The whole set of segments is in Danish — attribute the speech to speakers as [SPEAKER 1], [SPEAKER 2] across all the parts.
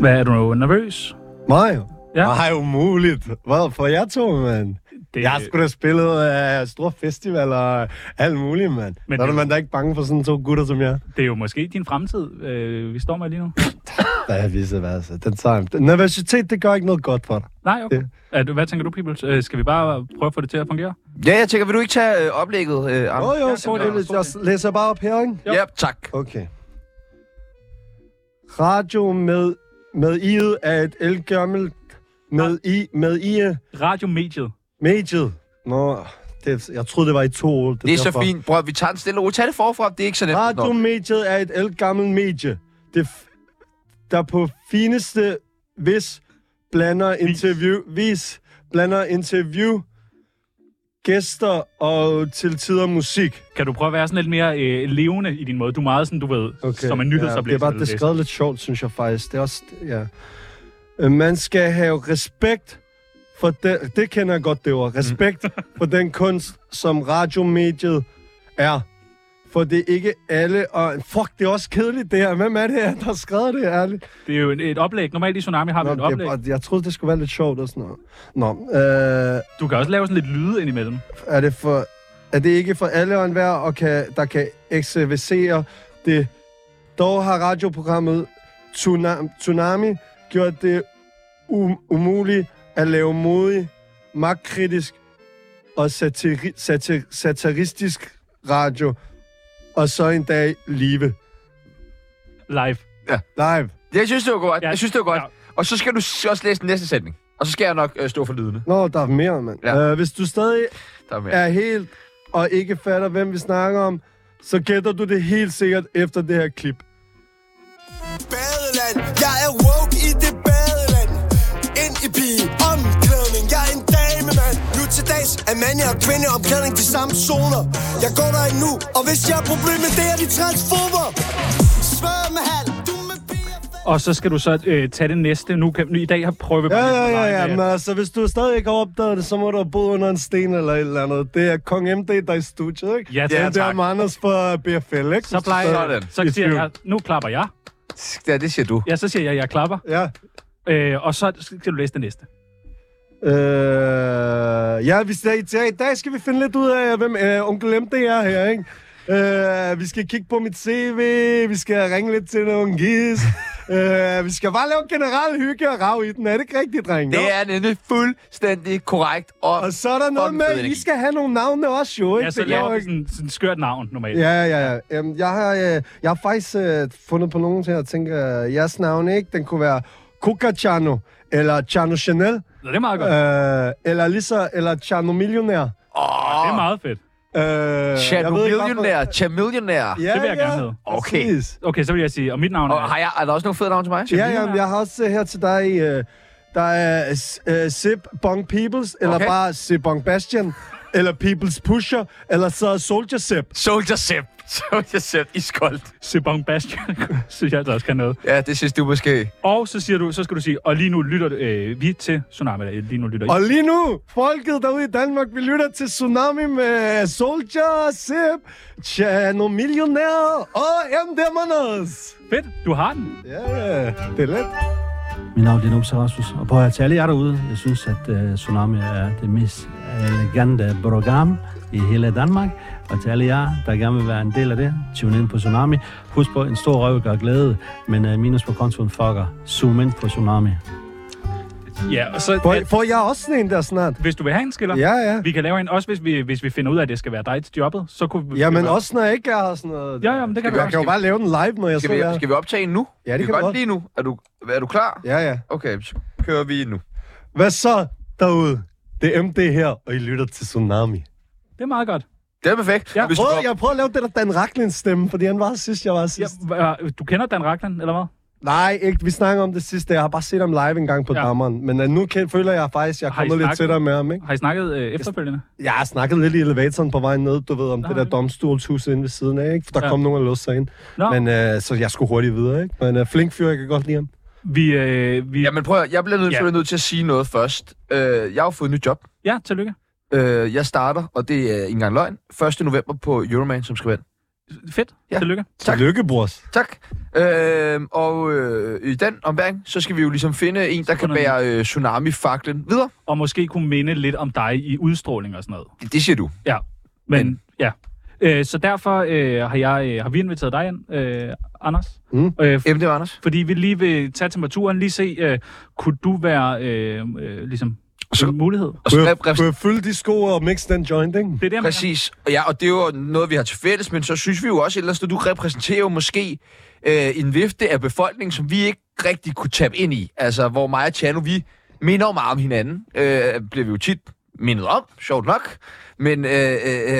[SPEAKER 1] Hvad, er du nervøs?
[SPEAKER 2] Mig?
[SPEAKER 1] Ja.
[SPEAKER 2] Ja. Nej, umuligt. Hvad for jeg to, mand?
[SPEAKER 1] Det-
[SPEAKER 2] Det... Jeg skulle da spillet af øh, store festivaler og alt muligt, mand.
[SPEAKER 1] Men
[SPEAKER 2] Men så er
[SPEAKER 1] det-
[SPEAKER 2] man da ikke bange for sådan to gutter som jeg.
[SPEAKER 1] Det er jo måske din fremtid, øh, vi står med lige nu.
[SPEAKER 2] Der er visse hvad, så den tager den. Nervøsitet, det gør ikke noget godt for dig.
[SPEAKER 1] Nej, okay.
[SPEAKER 2] Det-
[SPEAKER 1] Er du, hvad tænker du, Peoples? Øh, skal vi bare prøve at få det til at fungere?
[SPEAKER 3] Ja, jeg tænker, vil du ikke tage øh, oplægget? Øh,
[SPEAKER 2] Jo,
[SPEAKER 3] Arne?
[SPEAKER 2] jo,
[SPEAKER 1] tror,
[SPEAKER 2] ja,
[SPEAKER 3] Ja,
[SPEAKER 1] det er
[SPEAKER 2] selvfølgelig.
[SPEAKER 1] lidt-
[SPEAKER 2] Jeg læser bare op her, ikke?
[SPEAKER 3] Ja, tak.
[SPEAKER 2] Okay. Radio med, med i'et er et elgammelt med i, med i
[SPEAKER 1] Radiomediet.
[SPEAKER 2] mediet. Nå, det, jeg troede, det var i to år.
[SPEAKER 3] Det er så
[SPEAKER 2] derfor.
[SPEAKER 3] fint. Bror, vi tager den stille og roligt. Tag det forfra, det er ikke så nemt.
[SPEAKER 2] Ah,
[SPEAKER 3] Nå.
[SPEAKER 2] Radiomediet er et elgammelt medie, det f- der på fineste vis blander interview, vis blander interview, gæster og til tider musik.
[SPEAKER 1] Kan du prøve at være sådan lidt mere øh, levende i din måde? Du er meget sådan, du ved, okay, som en
[SPEAKER 2] ja, det er
[SPEAKER 1] nyhedsoplæser.
[SPEAKER 2] bare det er skrevet lidt sjovt, synes jeg faktisk. Det er også, ja. Øh, Man skal have respekt for det, det kender jeg godt, det ord. Respekt
[SPEAKER 1] Mm.
[SPEAKER 2] for den kunst, som radiomediet er. For det er ikke alle, og fuck, det er også kedeligt det her. Hvem er det her, der har skrevet det, ærligt?
[SPEAKER 1] det er jo et, et oplæg. Normalt i Tsunami har vi et
[SPEAKER 2] Nå,
[SPEAKER 1] oplæg.
[SPEAKER 2] jeg, jeg troede, det skulle være lidt sjovt og sådan noget. Nå, øh,
[SPEAKER 1] Du kan også lave sådan lidt lyde indimellem.
[SPEAKER 2] er det, for, er det ikke for alle og enhver, og kan, der kan ekservisere det. Dog har radioprogrammet Tsunami, Tsunami gjort det um, umuligt at lave modig, magtkritisk og satiri, satir, satiristisk radio, og så en dag live.
[SPEAKER 1] Live.
[SPEAKER 2] Live.
[SPEAKER 3] Jeg synes, det var godt.
[SPEAKER 1] Ja.
[SPEAKER 3] Jeg synes, det var godt.
[SPEAKER 1] Ja.
[SPEAKER 3] Og så skal du s- også læse den næste sætning. Og så skal jeg nok øh, stå for lydene.
[SPEAKER 2] Nå, der er mere, mand.
[SPEAKER 3] Ja.
[SPEAKER 2] Ja. Øh, hvis du stadig
[SPEAKER 3] Der er mere.
[SPEAKER 2] er helt og ikke fatter, hvem vi snakker om, så gætter du det helt sikkert efter det her klip.
[SPEAKER 4] badeland Jeg er woke i det badeland Ind i pige, omklædning Jeg er en dame, mand Nu til dags er mand og kvinde omklædning de samme zoner Jeg går der endnu, og hvis jeg har problemer, det er de transformer Svær med halv, du med piger
[SPEAKER 1] Og så skal du så øh, tage det næste. Nu kan, nu, I dag har prøvet vi
[SPEAKER 2] Ja,
[SPEAKER 1] bare
[SPEAKER 2] ja,
[SPEAKER 1] lidt på
[SPEAKER 2] ja,
[SPEAKER 1] vejen
[SPEAKER 2] ja.
[SPEAKER 1] af-
[SPEAKER 2] Men altså, hvis du stadig ikke har opdaget det, så må du have boet under en sten eller et eller andet. Det er Kong MD, der er i studiet, ikke?
[SPEAKER 1] Ja,
[SPEAKER 2] det er
[SPEAKER 1] tak.
[SPEAKER 2] der med Anders fra BFL, ikke?
[SPEAKER 1] Så plejer jeg,
[SPEAKER 3] Sådan.
[SPEAKER 1] så
[SPEAKER 2] I
[SPEAKER 1] siger
[SPEAKER 2] tvivl.
[SPEAKER 1] jeg, nu klapper jeg.
[SPEAKER 3] Ja, det siger du.
[SPEAKER 1] Ja, så siger jeg, jeg klapper.
[SPEAKER 2] Ja.
[SPEAKER 1] Øh, og så skal du læse det næste.
[SPEAKER 2] Øh, ja, vi skal, i, i dag skal vi finde lidt ud af, hvem øh, onkel MD er her, ikke? Øh, vi skal kigge på mit CV, vi skal ringe lidt til nogle gis. øh, vi skal bare lave generel hygge og rav i den. Er det ikke rigtigt, drenge? Jo.
[SPEAKER 3] Det er nemlig fuldstændig korrekt. Og,
[SPEAKER 2] Og så er der noget
[SPEAKER 3] fucking
[SPEAKER 2] med,
[SPEAKER 3] fed
[SPEAKER 2] at I
[SPEAKER 3] energi.
[SPEAKER 2] skal have nogle navne også, jo, ikke?
[SPEAKER 1] Ja, så
[SPEAKER 2] Det går
[SPEAKER 1] laver vi
[SPEAKER 2] ikke.
[SPEAKER 1] sådan, sådan et skørt navn normalt.
[SPEAKER 2] Ja, ja, ja. Øhm, jeg, har, øh, jeg har faktisk øh, fundet på nogen til at tænke, øh, jeres navn, ikke? Den kunne være Coca Chano, eller Chano Chanel,
[SPEAKER 1] Nå, det er meget godt.
[SPEAKER 2] øh, eller Lisa, eller Chano Millionær.
[SPEAKER 1] Det er meget fedt.
[SPEAKER 2] Øh,
[SPEAKER 3] Chad
[SPEAKER 2] jeg ved ikke, hvorfor-
[SPEAKER 3] Millionær, Chad Millionær.
[SPEAKER 2] Ja,
[SPEAKER 1] Det vil jeg
[SPEAKER 2] ja,
[SPEAKER 1] gerne hedde.
[SPEAKER 3] Okay.
[SPEAKER 2] præcis.
[SPEAKER 1] Okay, så vil jeg sige, og mit navn er...
[SPEAKER 3] Og har jeg, er der også nogle fede navne til mig?
[SPEAKER 2] Ja, ja, jeg har også øh, her til dig, øh, der er øh, Sip Bong Peoples, eller
[SPEAKER 3] Okay.
[SPEAKER 2] bare Sip Bong Bastian, eller Peoples Pusher, eller så Soldier Sip.
[SPEAKER 3] Soldier Sepp. Soldier Sepp i skoldt.
[SPEAKER 1] Sebon Bastian, synes jeg, der også kan noget.
[SPEAKER 3] Ja, det synes du måske.
[SPEAKER 1] Og så, siger du, så skal du sige, og lige nu lytter øh, vi til Tsunami. Eller, lige nu lytter I.
[SPEAKER 2] Og lige nu, folket derude i Danmark, vi lytter til Tsunami med Soldier, Sip, Chano Millionær og M. Demoners.
[SPEAKER 1] Fedt, du har den.
[SPEAKER 2] Ja, yeah, det er let.
[SPEAKER 5] Mit navn er Numse Rasmus, og prøv at til alle jer derude. Jeg synes, at uh, Tsunami er det mest elegante program i hele Danmark. Og til alle jer, der gerne vil være en del af det, tune ind på Tsunami. Husk på, en stor røv gør glæde, men uh, minus på kontoen fucker. Zoom ind på Tsunami.
[SPEAKER 1] Ja, og så...
[SPEAKER 2] Får,
[SPEAKER 1] at,
[SPEAKER 2] får jeg også sådan en der snart?
[SPEAKER 1] hvis du vil have en skiller,
[SPEAKER 2] Ja, ja.
[SPEAKER 1] vi kan lave en, også hvis vi, hvis vi finder ud af, at det skal være dig til jobbet, så kunne vi...
[SPEAKER 2] Jamen også når jeg ikke har sådan noget.
[SPEAKER 1] Ja, ja, men det kan vi
[SPEAKER 2] jeg
[SPEAKER 1] også.
[SPEAKER 2] kan jo bare lave den live, når jeg
[SPEAKER 3] Skal vi,
[SPEAKER 2] sidder
[SPEAKER 3] skal vi optage en nu?
[SPEAKER 2] Ja, det
[SPEAKER 3] vi
[SPEAKER 2] kan vi
[SPEAKER 3] godt
[SPEAKER 2] godt.
[SPEAKER 3] lige nu. Er du, er du klar?
[SPEAKER 2] Ja, ja.
[SPEAKER 3] Okay, så kører vi nu.
[SPEAKER 2] Hvad så derude? Det er MD her, og I lytter til Tsunami.
[SPEAKER 1] Det er meget godt.
[SPEAKER 3] Det er perfekt.
[SPEAKER 1] Ja.
[SPEAKER 3] Hvis du
[SPEAKER 2] Prøv,
[SPEAKER 3] går-
[SPEAKER 2] jeg prøver at lave det der Dan Racklins stemme, fordi han var her sidst, jeg var her
[SPEAKER 1] Ja,
[SPEAKER 2] sidst.
[SPEAKER 1] hva- du kender Dan Ragland, eller hvad?
[SPEAKER 2] Nej, ikke. Vi snakker om det sidste. Jeg har bare set ham live en gang på
[SPEAKER 1] Ja.
[SPEAKER 2] ja. dammeren. Men uh, nu kan, føler jeg faktisk, jeg er
[SPEAKER 1] Har I
[SPEAKER 2] kommet lidt
[SPEAKER 1] snakket?
[SPEAKER 2] tættere med ham, ikke?
[SPEAKER 1] Har I snakket øh, efterfølgende?
[SPEAKER 2] Jeg har snakket lidt i elevatoren på vej ned, du ved, om
[SPEAKER 1] Nå,
[SPEAKER 2] det der
[SPEAKER 1] okay.
[SPEAKER 2] domstolshus inde ved siden af, ikke? For der
[SPEAKER 1] Ja.
[SPEAKER 2] ja. kom nogen og låste sig ind.
[SPEAKER 1] Nå.
[SPEAKER 2] Men øh, så jeg skulle hurtigt videre, ikke? Men øh, flink fyr, jeg kan godt lide ham.
[SPEAKER 1] Vi, øh, vi...
[SPEAKER 3] Jamen prøv at, høre, jeg bliver nødt,
[SPEAKER 1] Ja.
[SPEAKER 3] ja. nødt til at sige noget først. Øh, jeg har jo fået et nyt job.
[SPEAKER 1] Ja, tillykke.
[SPEAKER 3] Øh, jeg starter, og det er ikke engang løgn, 1. november på Euroman som skribent.
[SPEAKER 1] Fedt.
[SPEAKER 3] Ja.
[SPEAKER 1] Ja. Tillykke.
[SPEAKER 3] Tak.
[SPEAKER 2] Tillykke, brors.
[SPEAKER 3] Tak. Øh, og øh, i den ombæring, så skal vi jo ligesom finde en, der kan
[SPEAKER 1] finder vi
[SPEAKER 3] bære øh, tsunami-faklen videre.
[SPEAKER 1] Og måske kunne minde lidt om dig i udstråling og sådan noget.
[SPEAKER 3] Det, det siger du.
[SPEAKER 1] Ja, men,
[SPEAKER 3] Men-
[SPEAKER 1] men. ja. Øh, så derfor øh, har, jeg, øh, har vi inviteret dig ind, øh, Anders.
[SPEAKER 2] Mm.
[SPEAKER 1] Øh, f-
[SPEAKER 3] Emne, Anders.
[SPEAKER 1] fordi vi lige vil tage temperaturen, lige se, øh, kunne du være øh, øh, ligesom,
[SPEAKER 3] Så-
[SPEAKER 1] så, en mulighed?
[SPEAKER 3] Og så
[SPEAKER 2] Kunne jeg,
[SPEAKER 3] rep- rep-
[SPEAKER 2] kunne jeg fylde de sko og mix den joint, ikke?
[SPEAKER 1] Det er det, jeg mener.
[SPEAKER 3] Præcis. Ja, og det er jo noget, vi har til fælles, men så synes vi jo også, ellers, at du repræsenterer jo måske øh, en vifte af befolkningen, som vi ikke rigtig kunne tabe ind i. Altså, hvor mig og Tjano, vi minder jo meget om hinanden. Øh, bliver vi jo tit mindet om, sjovt nok. Men øh, øh,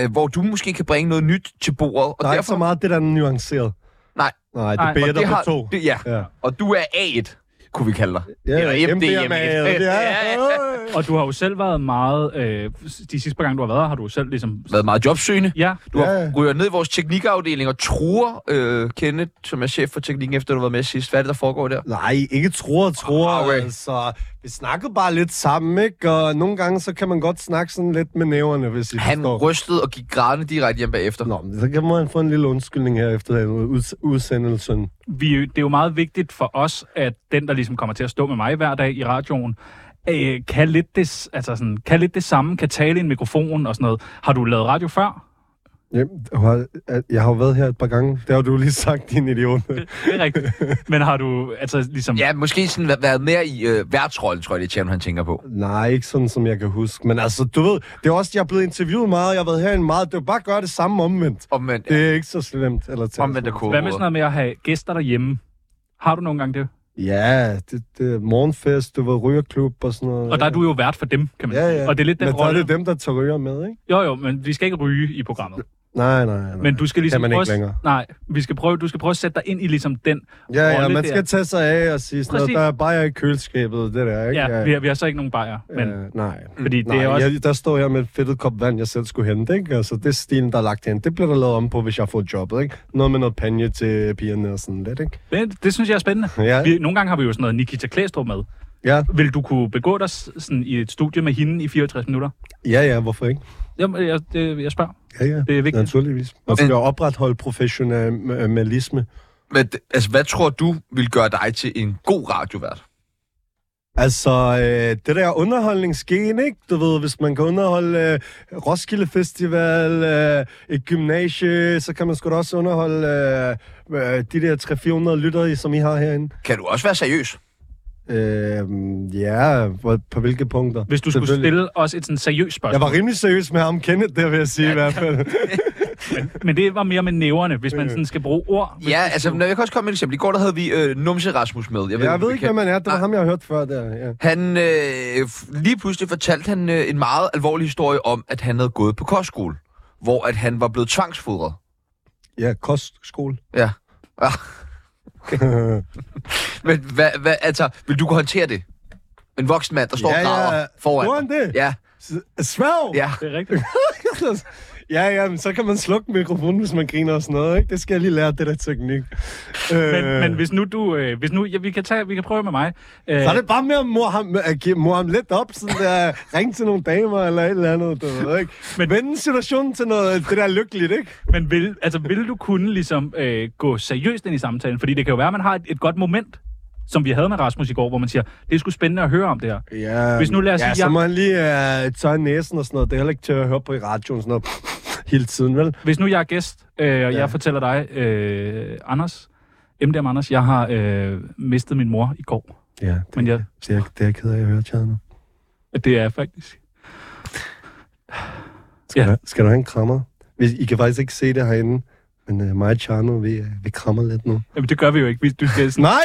[SPEAKER 3] øh, hvor du måske kan bringe noget nyt til bordet. Og
[SPEAKER 2] Der er ikke
[SPEAKER 3] derfor,
[SPEAKER 2] så meget det, der er nuanceret.
[SPEAKER 3] Nej.
[SPEAKER 2] Nej, det
[SPEAKER 1] Nej,
[SPEAKER 2] er
[SPEAKER 1] og
[SPEAKER 2] bedre
[SPEAKER 3] og det har,
[SPEAKER 2] på to.
[SPEAKER 3] Det, ja,
[SPEAKER 2] Ja.
[SPEAKER 3] og du er A1, kunne vi kalde dig. Eller MDMA.
[SPEAKER 2] Det er,
[SPEAKER 3] Ja,
[SPEAKER 1] Og du har jo selv været meget... Øh, de sidste par gange, du har været her, har du selv ligesom...
[SPEAKER 3] Været meget jobsøgende.
[SPEAKER 1] Ja,
[SPEAKER 3] Du har
[SPEAKER 2] Ja, ja.
[SPEAKER 3] ryger ned i vores teknikafdeling og truer øh, Kenneth, som er chef for teknikken, efter du har været med sidst. Hvad er det, der foregår der?
[SPEAKER 2] Nej, ikke tror, tror.
[SPEAKER 3] Ah, okay.
[SPEAKER 2] Altså, vi snakker bare lidt sammen, ikke? Og nogle gange, så kan man godt snakke sådan lidt med næverne, hvis I
[SPEAKER 3] Han
[SPEAKER 2] forstår.
[SPEAKER 3] rystede og gik grædende direkte hjem bagefter.
[SPEAKER 2] Nå, men så kan man få en lille undskyldning her efter den uds- udsendelsen.
[SPEAKER 1] vi, det er jo meget vigtigt for os, at den, der ligesom kommer til at stå med mig hver dag i radioen, øh, kan, lidt det, s- altså sådan, kan lidt det samme, kan tale i en mikrofon og sådan noget. Har du lavet radio før?
[SPEAKER 2] Ja, du har- jeg har jo været her et par gange. Det har du lige sagt, din idiot.
[SPEAKER 1] Det er rigtigt. Men har du altså ligesom...
[SPEAKER 3] Ja, måske sådan væ- været mere i øh, værtsrollen, tror jeg, det er Tjerno, han tænker på.
[SPEAKER 2] Nej, ikke sådan, som jeg kan huske. Men altså, du ved, det er også, jeg er blevet interviewet meget, jeg har været herinde meget. Det er jo bare at gøre det samme omvendt.
[SPEAKER 3] Omvendt,
[SPEAKER 2] Det er ikke så slemt. Eller tage
[SPEAKER 3] omvendt af
[SPEAKER 2] sådan.
[SPEAKER 1] Hvad med sådan noget med at have gæster derhjemme? Har du nogle gange det?
[SPEAKER 2] Ja, det, det er morgenfest, du ved, rygerklub og sådan noget.
[SPEAKER 1] Og der er du jo vært for dem, kan man
[SPEAKER 2] Ja,
[SPEAKER 1] sige.
[SPEAKER 2] ja.
[SPEAKER 1] Og det er lidt den
[SPEAKER 2] Men der er
[SPEAKER 1] rolle.
[SPEAKER 2] det dem, der tager ryger med, ikke?
[SPEAKER 1] Jo, jo, men vi skal ikke ryge i programmet.
[SPEAKER 2] Nej, nej, nej.
[SPEAKER 1] Men du skal ligesom
[SPEAKER 2] kan man ikke
[SPEAKER 1] prøve,
[SPEAKER 2] længere.
[SPEAKER 1] Nej, vi skal prøve, du skal prøve at sætte dig ind i ligesom den
[SPEAKER 2] Ja, ja,
[SPEAKER 1] rolle
[SPEAKER 2] man skal
[SPEAKER 1] der.
[SPEAKER 2] tage sig af og sige sådan noget.
[SPEAKER 1] Præcis.
[SPEAKER 2] Der er bare i køleskabet, det der, ikke?
[SPEAKER 1] Ja, vi, har- vi har så ikke nogen bajer, men
[SPEAKER 2] Øh, nej.
[SPEAKER 1] fordi det
[SPEAKER 2] Nej,
[SPEAKER 1] er også...
[SPEAKER 2] jeg, der står jeg med et fedtet kop vand, jeg selv skulle hente, ikke? Altså, det er stilen, der er lagt hen. Det bliver der lavet om på, hvis jeg får jobbet, ikke? Noget med noget panje til pigerne og sådan lidt, ikke?
[SPEAKER 1] Det, det synes jeg er spændende.
[SPEAKER 2] Ja.
[SPEAKER 1] Vi, nogle gange har vi jo sådan noget Nikita Klæstrup med.
[SPEAKER 2] Ja,
[SPEAKER 1] Vil du kunne begå dig s- sådan i et studie med hende i 64 minutter?
[SPEAKER 2] ja, ja hvorfor ikke?
[SPEAKER 1] Jamen, jeg, det, jeg spørger.
[SPEAKER 2] Ja, ja.
[SPEAKER 1] Det er vigtigt.
[SPEAKER 2] Naturligvis. Man skal opretholde professionalisme.
[SPEAKER 3] Men, d- altså, hvad tror du vil gøre dig til en god radiovært?
[SPEAKER 2] Altså, øh, det der underholdningsgen, ikke? Du ved, hvis man kan underholde øh, Roskilde Festival, øh, et gymnasie, så kan man sgu da også underholde øh, øh, de der 300-400 lyttere, som I har herinde.
[SPEAKER 3] Kan du også være seriøs?
[SPEAKER 2] Øh, ja, hvor, på hvilke punkter?
[SPEAKER 1] Hvis du skulle
[SPEAKER 2] Selvfølgelig.
[SPEAKER 1] stille os et sådan seriøst
[SPEAKER 2] Jeg
[SPEAKER 1] spørgsmål.
[SPEAKER 2] var rimelig seriøs med ham, Kenneth, der vil jeg sige ja, i hvert fald.
[SPEAKER 1] Men det var mere med næverne, hvis
[SPEAKER 2] Øh.
[SPEAKER 1] man sådan skal bruge ord. Hvis-
[SPEAKER 3] Ja, altså, når jeg kan også komme med et eksempel. I går, der havde vi øh, Numse Rasmus med.
[SPEAKER 2] Jeg ved ikke, hvem
[SPEAKER 3] man...
[SPEAKER 2] man er. Det var ham, jeg har hørt før der. Ja.
[SPEAKER 3] Han, øh, f- lige pludselig fortalte han øh, en meget alvorlig historie om, at han havde gået på kostskole, hvor at han var blevet tvangsfodret.
[SPEAKER 2] ja, kostskole.
[SPEAKER 3] Ja. Ah, men hvad, hvad, altså, vil du kunne håndtere det? En voksen mand, der står
[SPEAKER 2] Ja,
[SPEAKER 3] og græder
[SPEAKER 2] ja.
[SPEAKER 3] foran
[SPEAKER 2] Gjorde
[SPEAKER 3] dig.
[SPEAKER 2] han det?
[SPEAKER 3] Ja,
[SPEAKER 2] Sværg!
[SPEAKER 3] ja.
[SPEAKER 1] Det er rigtigt.
[SPEAKER 2] ja, ja, men så kan man slukke mikrofonen, hvis man griner og sådan noget, ikke? Det skal jeg lige lære, det der teknik.
[SPEAKER 1] Men, men hvis nu du... Øh, hvis nu, ja, vi, kan tage, vi kan prøve med mig. Øh,
[SPEAKER 2] Så er det bare med at mor ham, at give- mor ham lidt op, sådan der, ringe til nogle damer eller et eller andet, du ved, ikke? Men
[SPEAKER 1] Men-
[SPEAKER 2] vende situationen til noget, det der er lykkeligt, ikke?
[SPEAKER 1] Men vil, altså, vil du kunne ligesom, øh, gå seriøst ind i samtalen? Fordi det kan jo være, at man har et, et godt moment, som vi havde med Rasmus i går, hvor man siger, det er sgu spændende at høre om det her.
[SPEAKER 2] Ja,
[SPEAKER 1] Hvis nu lad os
[SPEAKER 2] ja,
[SPEAKER 1] sige,
[SPEAKER 2] så
[SPEAKER 1] jeg-
[SPEAKER 2] må han lige uh, tørre næsen og sådan noget. Det er heller ikke til at høre på i radioen sådan noget hele tiden, vel?
[SPEAKER 1] Hvis nu jeg er gæst, øh, og
[SPEAKER 2] Ja.
[SPEAKER 1] ja. jeg fortæller dig, øh, Anders, MDM Anders, jeg har øh, mistet min mor i går.
[SPEAKER 2] Ja, det,
[SPEAKER 1] Men jeg,
[SPEAKER 2] det, er, jeg- det er jeg ked af at høre, Tjadne.
[SPEAKER 1] det er faktisk...
[SPEAKER 2] Skal,
[SPEAKER 1] Ja.
[SPEAKER 2] ja. skal du have en krammer? Hvis, I kan faktisk ikke se det herinde, men uh, mig og Tjano, vi, øh, vi krammer lidt nu.
[SPEAKER 1] Jamen, det gør vi jo ikke. Vi, du skal sådan,
[SPEAKER 2] Nej,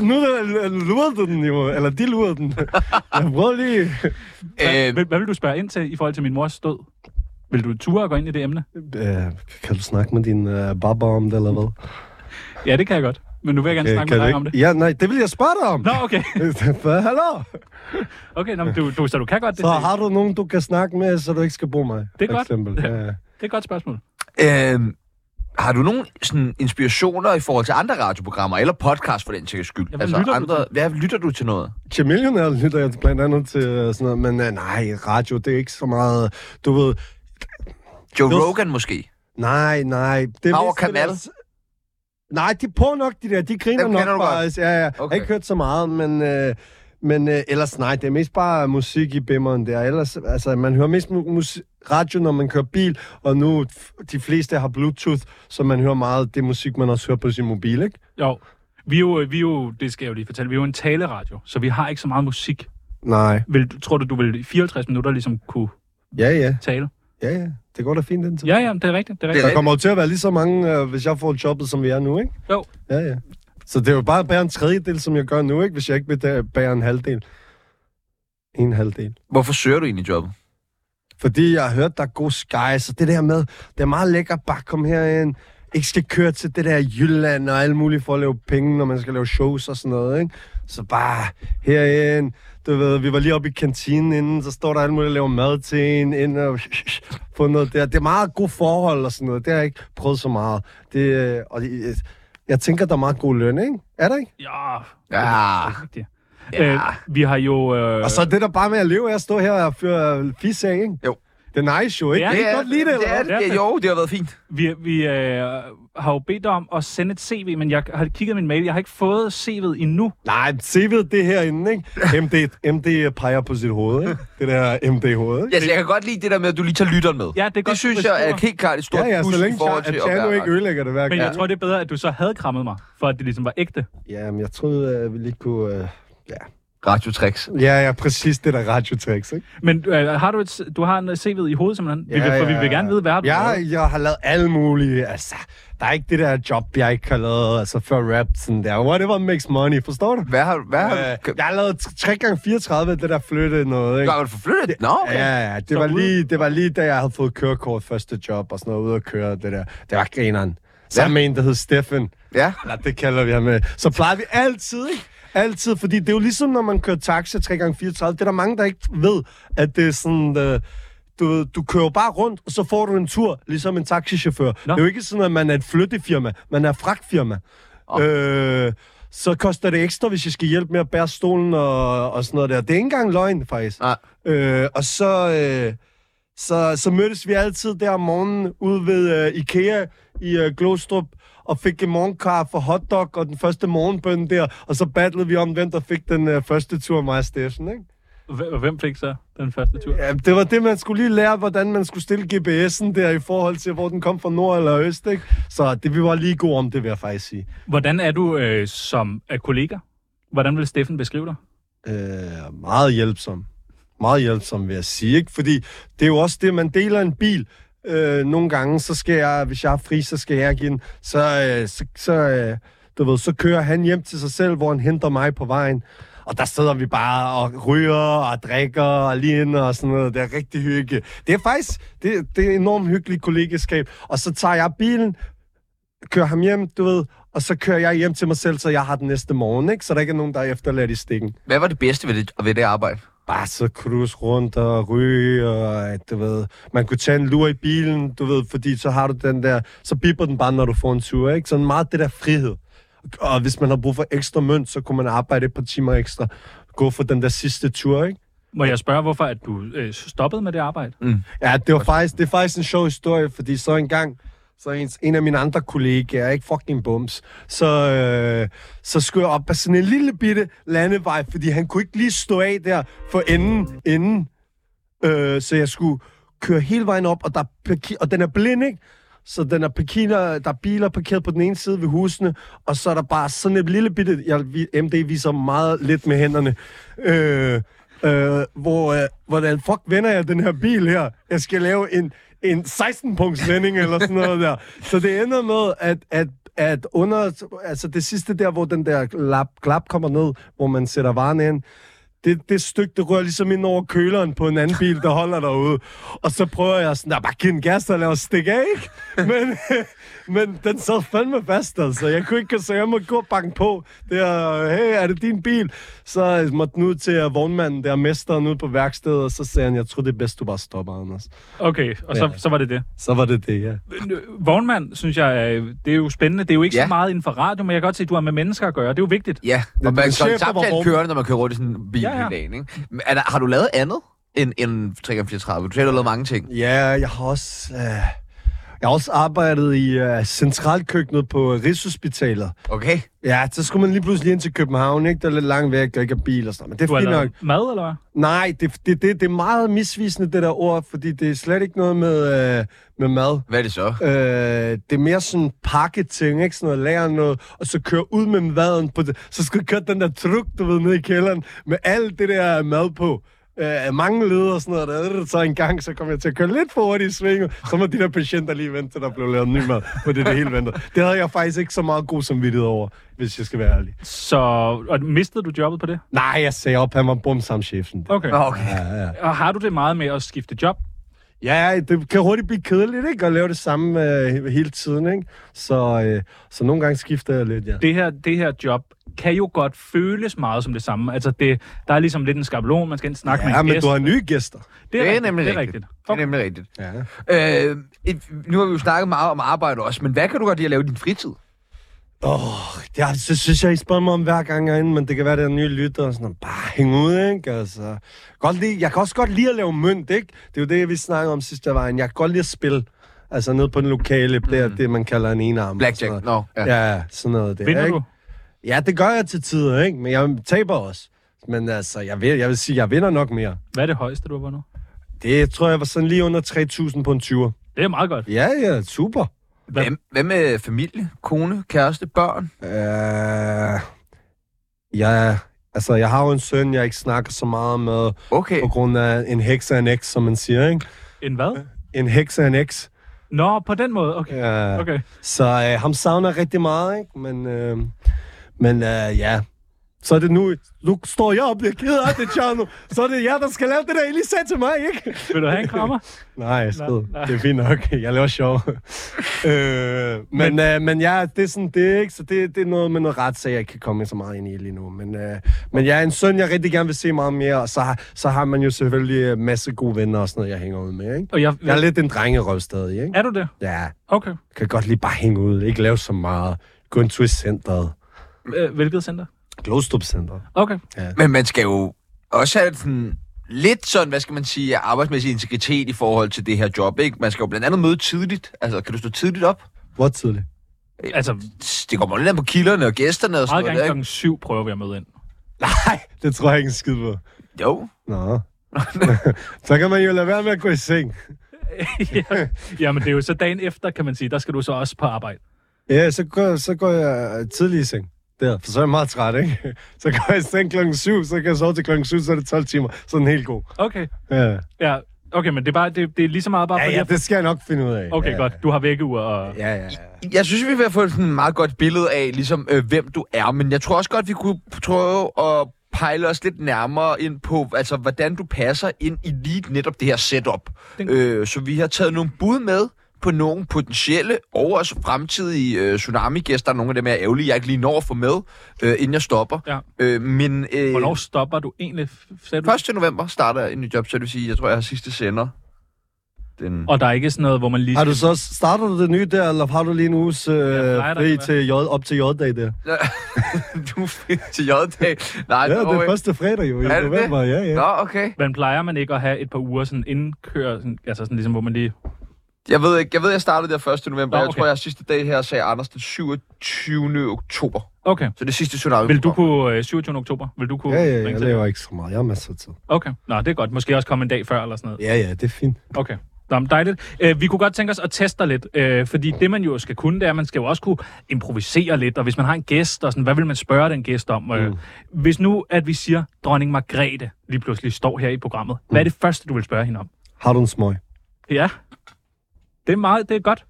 [SPEAKER 2] du, nu der- lurede du den jo, eller de lurede den. Jeg prøvede lige...
[SPEAKER 1] hvad,
[SPEAKER 3] Øh,
[SPEAKER 1] hvad, hvad vil du spørge ind til i forhold til min mors død? Vil du ture at gå ind i det emne?
[SPEAKER 2] Øh, kan du snakke med din øh, baba om det, eller hvad?
[SPEAKER 1] Ja, det kan jeg godt. Men nu vil jeg gerne
[SPEAKER 2] Øh,
[SPEAKER 1] snakke
[SPEAKER 2] kan
[SPEAKER 1] med
[SPEAKER 2] du
[SPEAKER 1] dig
[SPEAKER 2] ikke?
[SPEAKER 1] om det.
[SPEAKER 2] Ja, nej, det vil jeg spørge dig om.
[SPEAKER 1] Nå, okay.
[SPEAKER 2] Hvad, hallo?
[SPEAKER 1] Okay, nå, men du, du, så du kan godt det.
[SPEAKER 2] Så har du nogen, du kan snakke med, så du ikke skal bruge mig?
[SPEAKER 1] Det er
[SPEAKER 2] for
[SPEAKER 1] godt.
[SPEAKER 2] Eksempel. Ja.
[SPEAKER 1] Det er et godt spørgsmål.
[SPEAKER 3] øh, har du nogle sådan, inspirationer i forhold til andre radioprogrammer, eller podcast for den sags skyld? Altså,
[SPEAKER 1] Ja, hvad lytter du
[SPEAKER 3] andre, hvad lytter du til noget?
[SPEAKER 2] Chameleon lytter jeg blandt andet til øh, sådan noget, men øh, nej, radio, det er ikke så meget, du ved...
[SPEAKER 3] Joe
[SPEAKER 2] Jo.
[SPEAKER 3] Rogan måske?
[SPEAKER 2] Nej, nej. Det
[SPEAKER 3] Power
[SPEAKER 2] meste
[SPEAKER 3] Canal?
[SPEAKER 2] deres- Nej, de er på nok, de der. De griner
[SPEAKER 3] Dem
[SPEAKER 2] nok
[SPEAKER 3] kender du
[SPEAKER 2] bare.
[SPEAKER 3] godt.
[SPEAKER 2] Altså, Ja, ja. Okay. Jeg har
[SPEAKER 3] Okay.
[SPEAKER 2] ikke hørt så meget, men... Øh, men øh, ellers nej, det er mest bare musik i bimmeren der. Ellers, altså, man hører mest mu- musik, radio, når man kører bil, og nu f- de fleste har Bluetooth, så man hører meget det musik, man også hører på sin mobil, ikke?
[SPEAKER 1] Jo. Vi er, jo, vi er jo, det skal jeg jo lige fortælle, vi er jo en taleradio, så vi har ikke så meget musik.
[SPEAKER 2] Nej.
[SPEAKER 1] Vil, du- tror du, du vil i 54 minutter ligesom kunne
[SPEAKER 2] Ja, ja.
[SPEAKER 1] tale?
[SPEAKER 2] Ja, ja. Det går da fint den tid.
[SPEAKER 1] Ja, ja, det er rigtigt. Det er rigtigt.
[SPEAKER 2] Der kommer jo til at være lige så mange, øh, hvis jeg får jobbet, som vi er nu, ikke?
[SPEAKER 1] Jo.
[SPEAKER 2] Ja, ja. Så det er jo bare at bære en tredjedel, som jeg gør nu, ikke? Hvis jeg ikke vil bære en halvdel. En halvdel.
[SPEAKER 3] Hvorfor søger du egentlig jobbet?
[SPEAKER 2] Fordi jeg har hørt, der er god sky, så det der med, det er meget lækkert bare at komme herind. Ikke skal køre til det der Jylland og alt muligt for at lave penge, når man skal lave shows og sådan noget, ikke? Så bare herind. Du ved, vi var lige oppe i kantinen inden, så står der alt muligt at lave mad til en, ind og få noget der. Det er meget gode forhold og sådan noget. Det har jeg ikke prøvet så meget. Det, øh, og det, jeg tænker, der er meget god løn, ikke? Er der ikke?
[SPEAKER 1] Ja, det
[SPEAKER 3] Ja.
[SPEAKER 1] er rigtigt.
[SPEAKER 3] Ja.
[SPEAKER 1] Øh, vi har jo... Øh,
[SPEAKER 2] Og så er det der bare med at leve, jeg står her og fyrer fisse af, ikke?
[SPEAKER 3] Jo.
[SPEAKER 2] Det er nice jo, ikke?
[SPEAKER 1] Ja,
[SPEAKER 2] kan I godt lide det,
[SPEAKER 3] det
[SPEAKER 2] eller
[SPEAKER 3] er,
[SPEAKER 2] hvad?
[SPEAKER 3] det er, det. Jo, det har været fint.
[SPEAKER 1] Vi, vi øh, har jo bedt dig om at sende et CV, men jeg har kigget i min mail. Jeg har ikke fået CV'et endnu.
[SPEAKER 2] Nej, CV'et det er herinde, ikke? MD, MD peger på sit hoved, ikke? Det der MD-hoved, ikke?
[SPEAKER 3] Altså, jeg kan godt lide det der med, at du lige tager lytteren med.
[SPEAKER 1] Ja, det er
[SPEAKER 3] det
[SPEAKER 1] godt
[SPEAKER 3] synes jeg
[SPEAKER 1] beskrevet.
[SPEAKER 3] er helt klart et stort
[SPEAKER 2] Ja, ja,
[SPEAKER 3] plus
[SPEAKER 2] så
[SPEAKER 3] i
[SPEAKER 2] længe
[SPEAKER 3] forhold
[SPEAKER 2] Jan-
[SPEAKER 3] til
[SPEAKER 2] at
[SPEAKER 3] at være
[SPEAKER 2] Tjano ikke ødelægger det hver
[SPEAKER 1] Men jeg
[SPEAKER 2] gang.
[SPEAKER 1] tror, det er bedre, at du så havde krammet mig, for at det ligesom var ægte.
[SPEAKER 2] Jamen, jeg troede, uh, vi lige kunne... Uh...
[SPEAKER 3] radiotricks.
[SPEAKER 2] Ja, ja, præcis det der radiotricks, ikke?
[SPEAKER 1] Men øh, har du, et, du har en CV'et i hovedet, simpelthen? vi vil, for vi vil gerne vide, hvad har du
[SPEAKER 2] jeg,
[SPEAKER 1] lavet?
[SPEAKER 2] jeg har lavet alle mulige, altså... Der er ikke det der job, jeg ikke har lavet, altså før rap, sådan der. Whatever makes money, forstår du?
[SPEAKER 3] Hvad har, hvad har
[SPEAKER 2] Øh,
[SPEAKER 3] du...
[SPEAKER 2] jeg har lavet 3x34, det der flytte noget, ikke?
[SPEAKER 3] Gør du forflyttet? Nå, okay.
[SPEAKER 2] Ja, ja, ja. Det var,
[SPEAKER 1] ude-
[SPEAKER 2] lige, det var lige, da jeg havde fået kørekort første job og sådan noget, ude at køre det der. Det var grineren. Sammen med en, der hed Steffen.
[SPEAKER 3] Ja.
[SPEAKER 2] Eller det kalder vi ham med. Så plejer vi altid, ikke? Altid, fordi det er jo ligesom, når man kører taxa 3x34. Det er der mange, der ikke ved, at det er sådan... Øh, du, ved, du kører bare rundt, og så får du en tur, ligesom en taxichauffør. Det er jo ikke sådan, at man er et flyttefirma. Man er fragtfirma. Øh, så koster det ekstra, hvis jeg skal hjælpe med at bære stolen og, og sådan noget der. Det er ikke engang løgn, faktisk.
[SPEAKER 3] Nej.
[SPEAKER 2] Øh, og så, øh, så, så mødtes vi altid der om morgenen ude ved øh, Ikea i øh, Glostrup og fik en morgenkaffe for hotdog og den første morgenbøn der. Og så battlede vi om, hvem der fik den øh, første tur, mig og Steffen, ikke?
[SPEAKER 1] Hvem- Hvem fik så den første tur?
[SPEAKER 2] Ja, det var det, man skulle lige lære, hvordan man skulle stille GPS'en der i forhold til, hvor den kom fra nord eller øst, ikke? Så det, vi var lige gode om det, vil jeg faktisk sige.
[SPEAKER 1] Hvordan er du øh, som øh, kollega? Hvordan vil Steffen beskrive dig?
[SPEAKER 2] øh, meget hjælpsom. Meget hjælpsom, vil jeg sige. Ikke? Fordi det er jo også det, man deler en bil. Øh, nogle gange, så skal jeg, hvis jeg er fri, så skal jeg give den. Så, øh, så, så, øh, du ved, så kører han hjem til sig selv, hvor han henter mig på vejen. Og der sidder vi bare og ryger og drikker og ligner og sådan noget. Det er rigtig hygge. Det er faktisk det, det er enormt hyggeligt kollegeskab. Og så tager jeg bilen, kører ham hjem, du ved, og så kører jeg hjem til mig selv, så jeg har den næste morgen, ikke? Så der ikke er nogen, der er efterladt i stikken
[SPEAKER 3] Hvad var det bedste ved det, ved det arbejde?
[SPEAKER 2] bare så krus rundt og ryge, og at, du ved, man kunne tage en lur i bilen, du ved, fordi så har du den der, så bipper den bare, når du får en tur, ikke? Sådan meget det der frihed. Og hvis man har brug for ekstra mønt, så kunne man arbejde et par timer ekstra, gå for den der sidste tur, ikke?
[SPEAKER 1] Må jeg spørge, hvorfor at du øh, stoppede med det arbejde?
[SPEAKER 2] Ja, det, var faktisk, det er faktisk en sjov historie, fordi så engang, så en, en af mine andre kollegaer, ikke fucking bums, så, øh, så skulle jeg op ad sådan en lille bitte landevej, fordi han kunne ikke lige stå af der for enden, enden. Øh, så jeg skulle køre hele vejen op, og, der er parki- og den er blind, ikke? Så den er parkiner, der er biler parkeret på den ene side ved husene, og så er der bare sådan et lille bitte... Jeg, vi- MD viser meget lidt med hænderne. Øh, øh, hvor, øh, hvordan fuck vender jeg den her bil her? Jeg skal lave en, en 16-punkts vending eller sådan noget der. Så det ender med, at, at, at under... Altså det sidste der, hvor den der lap, klap kommer ned, hvor man sætter varen ind, det, det stykke, det rører ligesom ind over køleren på en anden bil, der holder derude. Og så prøver jeg sådan, "Nå, bare give den gas og lad os stikke af, ikke? Men, men den sad fandme fast, altså. Jeg kunne ikke, så jeg måtte gå og banke på. Det er, hey, er det din bil? Så jeg måtte nu til øh, vognmanden, der mesteren ude på værkstedet, og så sagde han, jeg tror det er bedst, du bare stopper, Anders.
[SPEAKER 1] Okay, og så,
[SPEAKER 2] Ja.
[SPEAKER 1] så var det det.
[SPEAKER 2] Så var det det, ja.
[SPEAKER 1] Øh, Vognmand, synes jeg, øh, det er jo spændende. Det er jo ikke
[SPEAKER 3] Ja.
[SPEAKER 1] så meget inden for radio, men jeg kan godt se, at du har med mennesker at gøre. Det er jo vigtigt.
[SPEAKER 3] Ja, og
[SPEAKER 2] den
[SPEAKER 3] man kan
[SPEAKER 2] chef, der var
[SPEAKER 3] samtale
[SPEAKER 2] vågen.
[SPEAKER 3] kørende, når man kører rundt i sådan en bil
[SPEAKER 1] Ja, ja.
[SPEAKER 3] ja, ja. ikke? Men Er der, har du lavet andet end, end 3 34 Du sagde, du har lavet mange ting.
[SPEAKER 2] Ja, jeg har også... Øh, Jeg har også arbejdet i uh, centralkøkkenet på øh, Rigshospitalet.
[SPEAKER 3] Okay.
[SPEAKER 2] Ja, så skulle man lige pludselig ind til København, ikke? Der er lidt langt væk, og ikke er bil og sådan noget. Men
[SPEAKER 1] Du
[SPEAKER 2] det er
[SPEAKER 1] har
[SPEAKER 2] fint nok.
[SPEAKER 1] lavet mad, eller hvad?
[SPEAKER 2] Nej, det, det, det, det er meget misvisende, det der ord, fordi det er slet ikke noget med, øh, med mad.
[SPEAKER 3] Hvad er det så?
[SPEAKER 2] Øh, det er mere sådan pakketing, ikke? Sådan noget, lager noget, og så køre ud med maden på det. Så skal du køre den der truk, du ved, ned i kælderen, med alt det der mad på. Øh, mange led og sådan noget. Der. Så en gang, så kom jeg til at køre lidt for hurtigt i svinget. Så må de der patienter lige vente, til der blev lavet ny mad på det, det hele ventede. Det havde jeg faktisk ikke så meget god samvittighed over, hvis jeg skal være ærlig.
[SPEAKER 1] Så og mistede du jobbet på det?
[SPEAKER 2] Nej, jeg sagde op, han var bumsamchefen.
[SPEAKER 1] Okay.
[SPEAKER 3] Nå, okay.
[SPEAKER 1] Og har du det meget med at skifte job?
[SPEAKER 2] Ja, det kan hurtigt blive kedeligt, ikke? At lave det samme øh, hele tiden, ikke? Så, øh, så nogle gange skifter jeg lidt, ja.
[SPEAKER 1] det her, det her job kan jo godt føles meget som det samme. Altså, det, der er ligesom lidt en skabelon, man skal ind og snakke med
[SPEAKER 2] Ja,
[SPEAKER 1] en
[SPEAKER 2] men
[SPEAKER 1] gæst.
[SPEAKER 2] du har nye gæster.
[SPEAKER 1] Det er,
[SPEAKER 3] Det er
[SPEAKER 1] rigtigt,
[SPEAKER 3] nemlig
[SPEAKER 1] det er
[SPEAKER 3] rigtigt.
[SPEAKER 1] rigtigt.
[SPEAKER 3] Det er
[SPEAKER 1] Okay.
[SPEAKER 3] nemlig rigtigt.
[SPEAKER 2] Ja.
[SPEAKER 3] Øh, et- nu har vi jo snakket meget om arbejde også, men hvad kan du godt lide at lave i din fritid?
[SPEAKER 2] Åh, oh, det så synes jeg, I spørger mig om hver gang jeg er inde, men det kan være, det er nye lytter og sådan noget. Bare hæng ud, ikke? Altså, godt lide, jeg kan også godt lide at lave mønt, ikke? Det er jo det, vi snakkede om sidste af vejen. Jeg kan godt lide at spille. Altså nede på den lokale, det er det, man kalder en enarm.
[SPEAKER 3] Blackjack,
[SPEAKER 2] Sådan
[SPEAKER 3] nå.
[SPEAKER 2] noget.
[SPEAKER 3] Ja.
[SPEAKER 2] Ja, sådan noget der,
[SPEAKER 1] Vinder
[SPEAKER 2] ikke?
[SPEAKER 1] du?
[SPEAKER 2] Ja, det gør jeg til tider, ikke? Men jeg taber også. Men altså, jeg vil, jeg vil sige, jeg vinder nok mere.
[SPEAKER 1] Hvad er det højeste, du har vundet?
[SPEAKER 2] Det tror jeg var sådan lige under 3.000 på en 20'er.
[SPEAKER 1] Det er meget godt.
[SPEAKER 2] Ja, ja, super.
[SPEAKER 1] Hvad-
[SPEAKER 3] Hvad, hvad med familie, kone, kæreste, børn?
[SPEAKER 2] Uh, ja, altså, jeg har jo en søn, jeg ikke snakker så meget med,
[SPEAKER 3] Okay.
[SPEAKER 2] på grund af en heks er en eks, som man siger, ikke?
[SPEAKER 1] En hvad?
[SPEAKER 2] En heks er en eks.
[SPEAKER 1] Nå, på den måde. Okay.
[SPEAKER 2] Uh,
[SPEAKER 1] okay.
[SPEAKER 2] Så uh, ham savner jeg rigtig meget, ikke? Men, uh, men uh, ja, så er det nu, nu står jeg og bliver ked af det, Tjerno. Så er det jer, der skal lave det der, I lige sagde til mig, ikke?
[SPEAKER 1] Vil du have en krammer?
[SPEAKER 2] Nej, skid.
[SPEAKER 1] nej.
[SPEAKER 2] Det er fint nok. Jeg laver sjov. øh, men, men, øh, men ja, det er sådan det, ikke? Så det, det er noget med noget retssag, jeg ikke kan komme så meget ind i lige nu. Men, øh, men jeg er en søn, jeg rigtig gerne vil se meget mere, og så har, så har man jo selvfølgelig øh, masse gode venner og sådan noget, jeg hænger ud med, ikke?
[SPEAKER 1] Og jeg,
[SPEAKER 2] Jeg er lidt en drengerøv stadig, ikke?
[SPEAKER 1] er du det?
[SPEAKER 2] Ja,
[SPEAKER 1] Okay.
[SPEAKER 2] kan godt lige bare hænge ud, ikke lave så meget. Gå en tur i centret.
[SPEAKER 1] Øh, Hvilket center?
[SPEAKER 2] Glostrup Center.
[SPEAKER 1] Okay.
[SPEAKER 3] Men man skal jo også have sådan lidt sådan, hvad skal man sige, arbejdsmæssig integritet i forhold til det her job, ikke? Man skal jo blandt andet møde tidligt. Altså, kan du stå tidligt op?
[SPEAKER 2] Hvor tidligt?
[SPEAKER 1] Altså,
[SPEAKER 3] Det kommer lidt an på kilderne og gæsterne og sådan
[SPEAKER 1] meget
[SPEAKER 3] noget.
[SPEAKER 1] gange
[SPEAKER 3] der,
[SPEAKER 1] klokken syv prøver vi at møde ind.
[SPEAKER 2] Nej, det tror jeg ikke en skid på.
[SPEAKER 3] ikke? Jo.
[SPEAKER 2] Nå. så kan man jo lade være med at gå i seng.
[SPEAKER 1] Ja. Jamen, det er jo så dagen efter, kan man sige. Der skal du så også på arbejde.
[SPEAKER 2] Ja, så går, så går jeg tidlig i seng. Der, for så er jeg meget træt, ikke? Så går jeg i seng klokken 7, så kan jeg sove til klokken 7, så er det 12 timer. Sådan helt god.
[SPEAKER 1] Okay.
[SPEAKER 2] Ja,
[SPEAKER 1] Ja. Okay, men det er, bare, det, det er lige så meget bare
[SPEAKER 2] ja,
[SPEAKER 1] fordi...
[SPEAKER 2] ja
[SPEAKER 1] at-
[SPEAKER 2] det skal jeg nok finde ud af.
[SPEAKER 1] Okay,
[SPEAKER 2] ja.
[SPEAKER 1] godt. Du har vækkeur og...
[SPEAKER 2] Ja, ja, ja.
[SPEAKER 3] Jeg synes, vi er ved at få sådan et meget godt billede af, ligesom, øh, hvem du er. Men jeg tror også godt, vi kunne prøve at pejle os lidt nærmere ind på, altså, hvordan du passer ind i lige netop det her setup.
[SPEAKER 1] Den-
[SPEAKER 3] Øh, så vi har taget nogle bud med på nogle potentielle og også fremtidige øh, tsunami-gæster. Nogle af dem er ærgerlige, jeg ikke lige når at få med, øh, inden jeg stopper.
[SPEAKER 1] Ja.
[SPEAKER 3] Øh, men øh,
[SPEAKER 1] Hvornår stopper du egentlig? Sagde du?
[SPEAKER 3] 1. november starter jeg en ny job, så det vil sige, jeg tror, jeg har sidste sender. Den...
[SPEAKER 1] Og der er ikke sådan noget, hvor man lige...
[SPEAKER 2] Har du så, starter du det nye der, eller har du lige en uges øh,
[SPEAKER 1] plejer der
[SPEAKER 2] fri
[SPEAKER 1] at være.
[SPEAKER 2] til J, op til J-dag der?
[SPEAKER 3] du er fedt til J-dag. Nej,
[SPEAKER 2] Ja, det
[SPEAKER 3] okay.
[SPEAKER 2] er første fredag jo i
[SPEAKER 3] Er det det?
[SPEAKER 2] november. Ja, ja.
[SPEAKER 3] Nå, okay.
[SPEAKER 1] Men plejer man ikke at have et par uger sådan indkør, sådan, altså sådan ligesom, hvor man lige...
[SPEAKER 3] Jeg ved ikke, jeg ved, jeg startede der 1.
[SPEAKER 1] Nå,
[SPEAKER 3] november. Okay. Jeg
[SPEAKER 1] okay.
[SPEAKER 3] tror, jeg sidste dag her sagde Anders den 27. oktober.
[SPEAKER 1] Okay.
[SPEAKER 3] Så det er sidste tsunami.
[SPEAKER 1] Vil du kunne, øh, 27. oktober, vil du kunne
[SPEAKER 2] Ja, ja,
[SPEAKER 1] ringe
[SPEAKER 2] jeg
[SPEAKER 1] til det?
[SPEAKER 2] laver ikke så meget. Jeg har masser af tid.
[SPEAKER 1] Okay, nå, det er godt. Måske også komme en dag før eller sådan noget.
[SPEAKER 2] Ja, ja, det er fint.
[SPEAKER 1] Okay. Nå, men dejligt. Øh, vi kunne godt tænke os at teste dig lidt, øh, fordi det man jo skal kunne, det er, at man skal jo også kunne improvisere lidt, og hvis man har en gæst, og sådan, hvad vil man spørge den gæst om? Øh,
[SPEAKER 2] Mm.
[SPEAKER 1] Hvis nu, at vi siger, dronning Margrethe lige pludselig står her i programmet, hvad er
[SPEAKER 2] Mm.
[SPEAKER 1] det første, du vil spørge hende om?
[SPEAKER 2] Har du en smøg?
[SPEAKER 1] Ja, det er meget, det er godt.